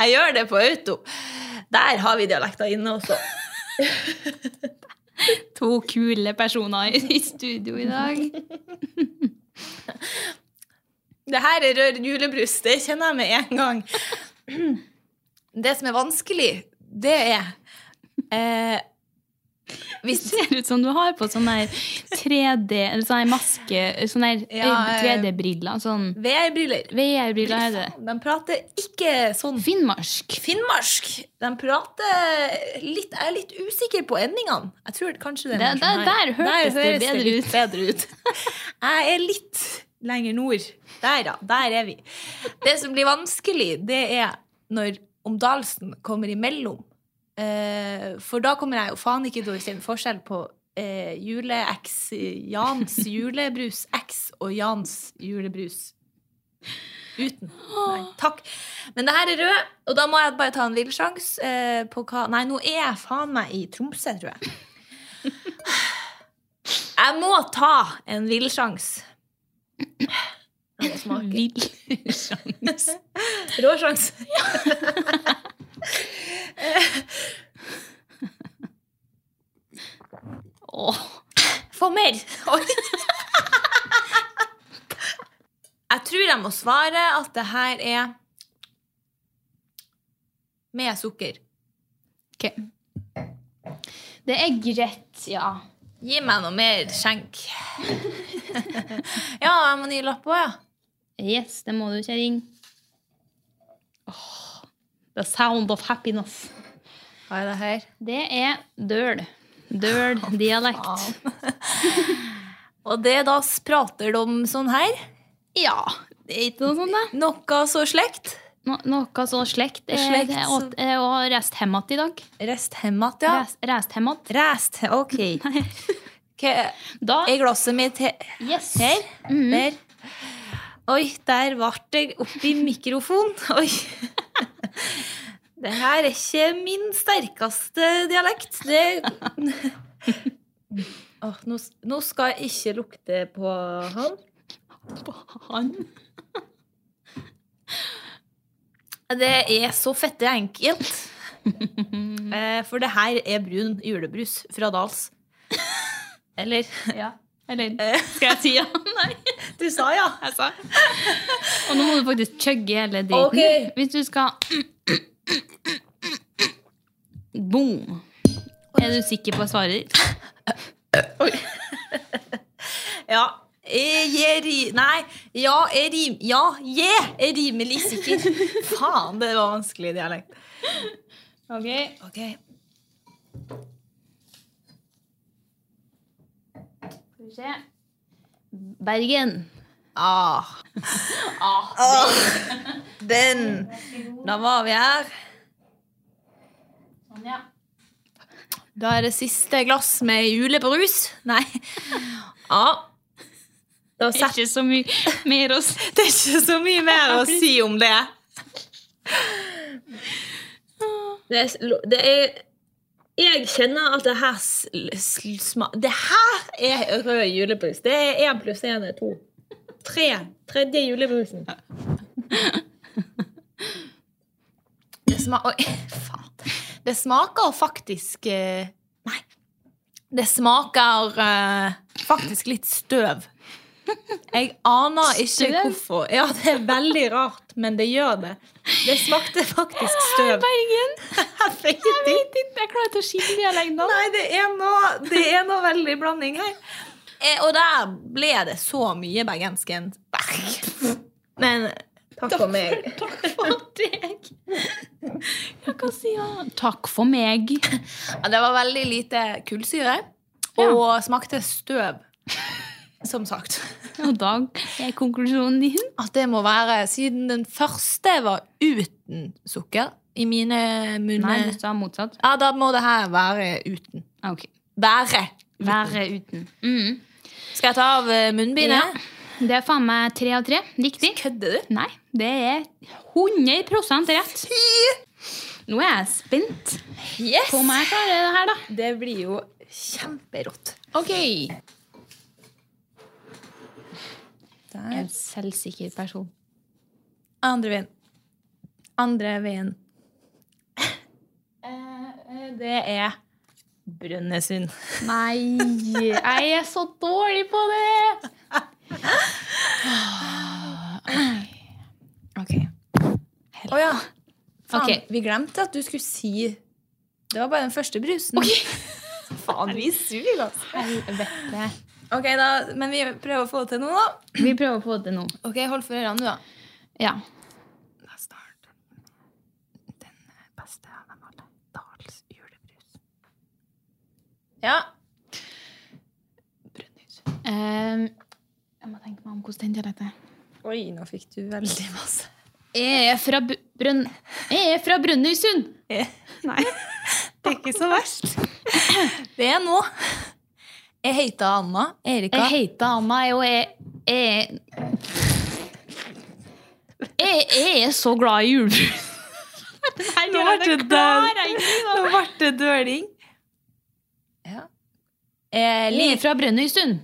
S1: Jeg gjør det på auto. Der har vi dialekter inne også.
S2: To kule personer i- i studio i dag.
S1: Det her er rød julebrus. Det kjenner jeg med en gang. Det som er vanskelig, det er eh,
S2: Det ser ut som du har på sånn der 3D Eller sånn der maske Sånn der
S1: Ja,
S2: øy-
S1: eh,
S2: 3D-briller. Sånn
S1: VR-briller.
S2: VR-briller er det.
S1: De prater ikke sånn
S2: Finnmark.
S1: finnmark. De prater litt Jeg er litt usikker på endingene. Jeg tror kanskje det er
S2: Der-
S1: noe sånn her.
S2: der- der hørtes det bedre
S1: litt bedre ut. Jeg er litt lenger nord. Der, ja. Der er vi. Det som blir vanskelig, det er når omdalsen kommer imellom. Eh, for da kommer jeg jo faen ikke til å kjenne forskjell på eh, jule-X, Jans julebrus X og Jans julebrus uten. Nei, takk. Men det her er rød, og da må jeg bare ta en vill sjanse eh, på hva Nei, nå er jeg faen meg i Tromsø, tror jeg. Jeg må ta en vill sjanse. Det smaker
S2: Vill sjans.
S1: Rå sjans.
S2: Åh.
S1: Få mer! Oi. Jeg tror jeg må svare at det her er med sukker.
S2: Ok. Det er greit, ja.
S1: Gi meg noe mer skjenk. Ja, jeg må ny lapp òg, ja.
S2: Yes, det må du, kjerring. Åh. The sound of happiness.
S1: Hva er det her?
S2: Det er døl. Døl-dialekt.
S1: Og det da prater de sånn her?
S2: Ja. Det er ikke noe sånt, det.
S1: Noe så slekt?
S2: No, noe så slekt. eh,
S1: Slekt
S2: Det er
S1: som-
S2: åt- er å reist hjemmet i dag.
S1: Resthemmat, ja.
S2: Reist- Reist hjemmet.
S1: Rest. Ok. Hva
S2: Da
S1: er glasset mitt he
S2: Yes. Mm-hmm.
S1: Her. Der. Oi, der ble jeg oppi mikrofonen. Oi. Det her er ikke min sterkeste dialekt. Det Åh, nå, s- nå skal jeg ikke lukte på han.
S2: Han.
S1: Det er så fette enkelt. Eh, For det her er brun julebrus fra Dals. Eller Eh,
S2: Ja. Eller skal jeg si ja? Nei,
S1: Du sa ja.
S2: jeg sa Og nå må du faktisk chugge hele driten.
S1: Ok.
S2: Hvis du skal Boom. Er du sikker på svaret ditt?
S1: Oi. Ja. Eh, Jeg ri... Nei. Ja, jeg rim... Ja, jeg er rimelig sikker. Faen, det var vanskelig dialekt.
S2: Ok.
S1: Ok.
S2: Skal vi se. Bergen.
S1: Ah. ah. Den. Da var vi her.
S2: Sånn, ja.
S1: Da er det siste glass med julebrus. Nei. Ah. Da setter
S2: Ikke så mye mer å si.
S1: Det er ikke så mye mer å si om det. Det er, det er Jeg kjenner at det her s- s- sma- Det her er rød julebrus. Det er én pluss én er to. Tre. Tredje julebrusen. Det sma- Oi, faen. Det smaker faktisk eh, Nei. Det smaker eh, faktisk litt støv. Jeg aner ikke
S2: Støv?
S1: hvorfor. Ja, det er veldig rart, men det gjør det. Det smakte faktisk støv.
S2: Bergen!
S1: Herregud.
S2: Jeg vet ikke, jeg klarer ikke å skille dialektene.
S1: Nei, det er noe, det er noe veldig blanding her. Eh, og der ble det så mye bergensken. Berg. Men takk for meg.
S2: Takk for deg. Ja, hva sier han? Takk for meg.
S1: Ja, Det var veldig lite kullsyre,
S2: Ja.
S1: og smakte støv. Som sagt.
S2: Og da er konklusjonen din.
S1: At det må være Siden den første var uten sukker i mine
S2: Nei,
S1: munner
S2: du sa motsatt.
S1: Ja, da må det her være uten.
S2: Ah, Ok.
S1: Være.
S2: Være uten. Mm.
S1: Skal jeg ta av eh,
S2: Ja.
S1: munnbindet?
S2: Det er faen meg tre av tre. Riktig.
S1: Kødder du?
S2: Nei, det er 100 rett. Nå er jeg spent
S1: Yes!
S2: på om jeg klarer det her, da.
S1: Det blir jo kjemperått.
S2: Ok. Jeg er
S1: Der.
S2: en selvsikker person.
S1: Andre veien. Andre veien.
S2: Eh,
S1: Det er Brønnøysund.
S2: Nei, jeg er så dårlig på det!
S1: Ok. Å ja. Faen,
S2: Ok.
S1: vi glemte at du skulle si Det var bare den første brusen. Faen, vi suger, altså.
S2: Helvete.
S1: Ok, da, men vi prøver å få det til nå, da.
S2: Vi prøver å få det nå.
S1: Ok, Hold for ørene, du, da.
S2: Ja.
S1: Da starter den beste av dem alle. Dals julebrus. Ja. Brønnøysund.
S2: Ehm, jeg må tenke meg om hvordan den dialekten er.
S1: Oi, nå fikk du veldig masse.
S2: Jeg er fra Bu- Brønn... Jeg er fra Brønnøysund! Nei.
S1: Det er ikke så verst. Det er nå. Jeg heter Anna Erika.
S2: Jeg heter Anna, jeg, og jeg jeg, jeg jeg er så glad i julebrus.
S1: Nå ble det
S2: altså.
S1: Nå ble det døling. Ja. Eh,
S2: Jeg
S1: li-
S2: er fra Brønnøysund.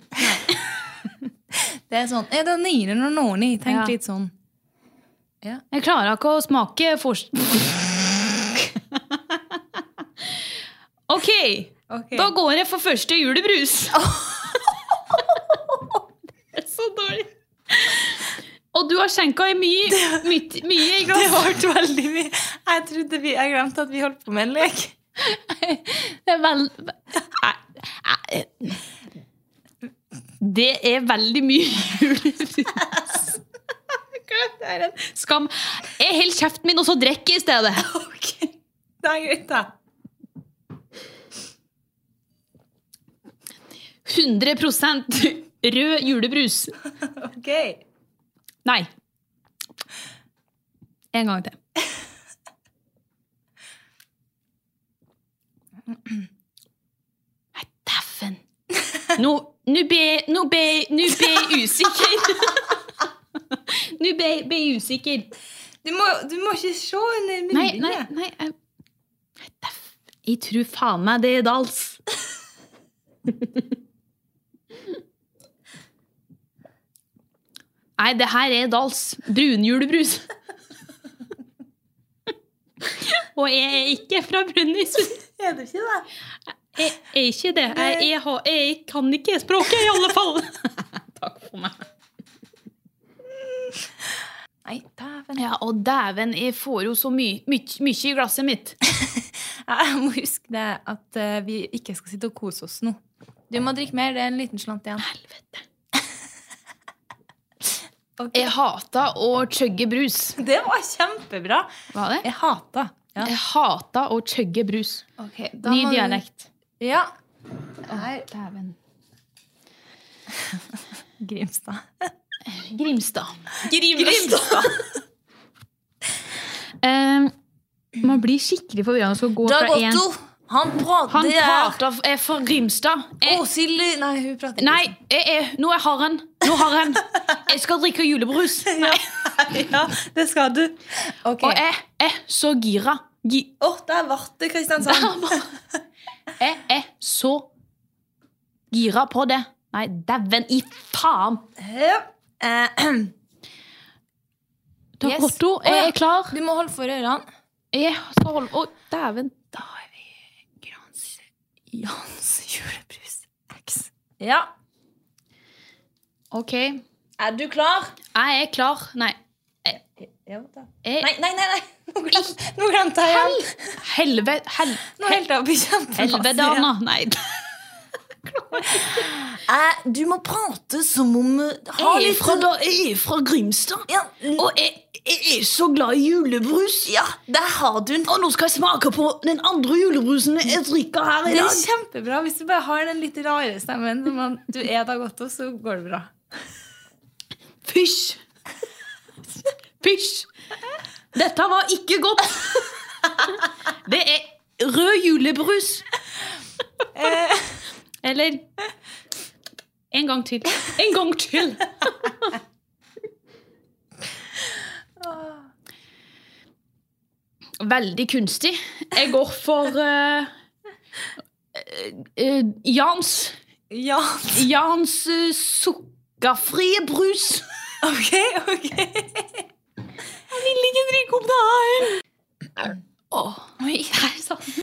S1: det er sånn eh, Det er nyere når noen i. Tenk
S2: Ja.
S1: litt sånn.
S2: Jeg klarer ikke å smake fors... Ok, da går jeg for første julebrus. Det er så dårlig. Og du har skjenka i mye, mye, mye
S1: Det
S2: i glass.
S1: ble veldig mye. Jeg trodde vi Jeg glemte at vi holdt på med en lek.
S2: Det er vel... Nei, nei. Det er veldig mye julebrus.
S1: Det er en
S2: Skam. Jeg holder kjeften min, og så drikker jeg i stedet.
S1: Ok. Det er greit, da.
S2: 100 rød julebrus.
S1: Ok.
S2: Nei. En gang til. Nei, dæven. Nå nå ble Nå ble Nå ble jeg usikker. Nå ble ble jeg usikker.
S1: Du må, du må ikke se under
S2: Nei,
S1: munnbindet.
S2: nei, nei. Jeg, Nei, dæven. jeg tror faen meg det er dals. Nei, det her er dals. Brunjulebrus. Og jeg er ikke fra Brønnøysund.
S1: Er du ikke det?
S2: Jeg er ikke det. Jeg, jeg, har, jeg kan ikke språket, i alle fall. Takk for meg.
S1: Nei, dæven.
S2: Ja, og dæven, jeg får jo så mye mye i glasset mitt.
S1: Jeg må huske det at eh, vi ikke skal sitte og kose oss nå. Du må drikke mer. Det er en liten slant igjen.
S2: Helvete. Jeg hata å chugge brus.
S1: Det var kjempebra!
S4: Hva er det?
S1: Jeg hata. Ja.
S2: Jeg hata å chugge brus.
S4: Ny dialekt.
S1: Ja.
S4: Dæven.
S1: Grimstad.
S2: Grimstad.
S1: Grimstad.
S2: Ehm,
S4: Eh, man blir skikkelig forvirra når man skal gå
S1: Dag
S4: fra en
S1: Otto, han prater
S2: Han
S1: prater
S2: prater er fra Grimstad. Jeg,
S1: Åshild Nei, hun prater ikke.
S2: nei, jeg, jeg, nå jeg har han. Nå har han. Jeg skal drikke julebrus. Nei.
S1: Ja, det skal du. Ok.
S2: Og jeg er så gira. Gi,
S1: Å, der ble det Kristiansand.
S2: jeg er så gira på det. Nei, dæven i faen!
S1: Ja. Eh,
S2: Dag
S1: Yes.
S2: Otto,
S1: Å, ja.
S2: jeg er klar.
S1: Du må holde for ørene.
S2: Jeg skal holde Å, dæven.
S1: Da er vi Grans Jans julebrus X. Ja.
S2: OK. Jeg
S1: Er du klar?
S2: er klar. Nei.
S1: Ja, da.
S2: Jeg,
S1: Nei, nei, nei. nei. Nå glemte- Nå glemte jeg igjen.
S2: Helvete. Hel,
S1: Nå helt opp i kjempebass
S2: helvete,
S1: igjen.
S2: Anna. Nei.
S1: Eh, Du må prate som om eh, Ha
S2: Jeg er
S1: litt
S2: fra, da, jeg er fra Grimstad.
S1: ja,
S2: Og jeg, jeg er så glad i julebrus.
S1: ja, der har du den.
S2: Og nå skal jeg smake på den andre julebrusen jeg drikker her i
S1: Det er
S2: dag.
S1: kjempebra. Hvis du bare har den litt rare stemmen som man- du er da godt hos, så går det bra.
S2: Pysj! Pysj! Dette var ikke godt. Det er rød julebrus. Eller En gang til. En gang til! Veldig kunstig. Jeg går for eh, eh, Jans
S1: Ja,
S2: Jans eh, sukkerfrie brus.
S1: ok, ok.
S2: vil ikke drikke opp det her. Oi, her satt den.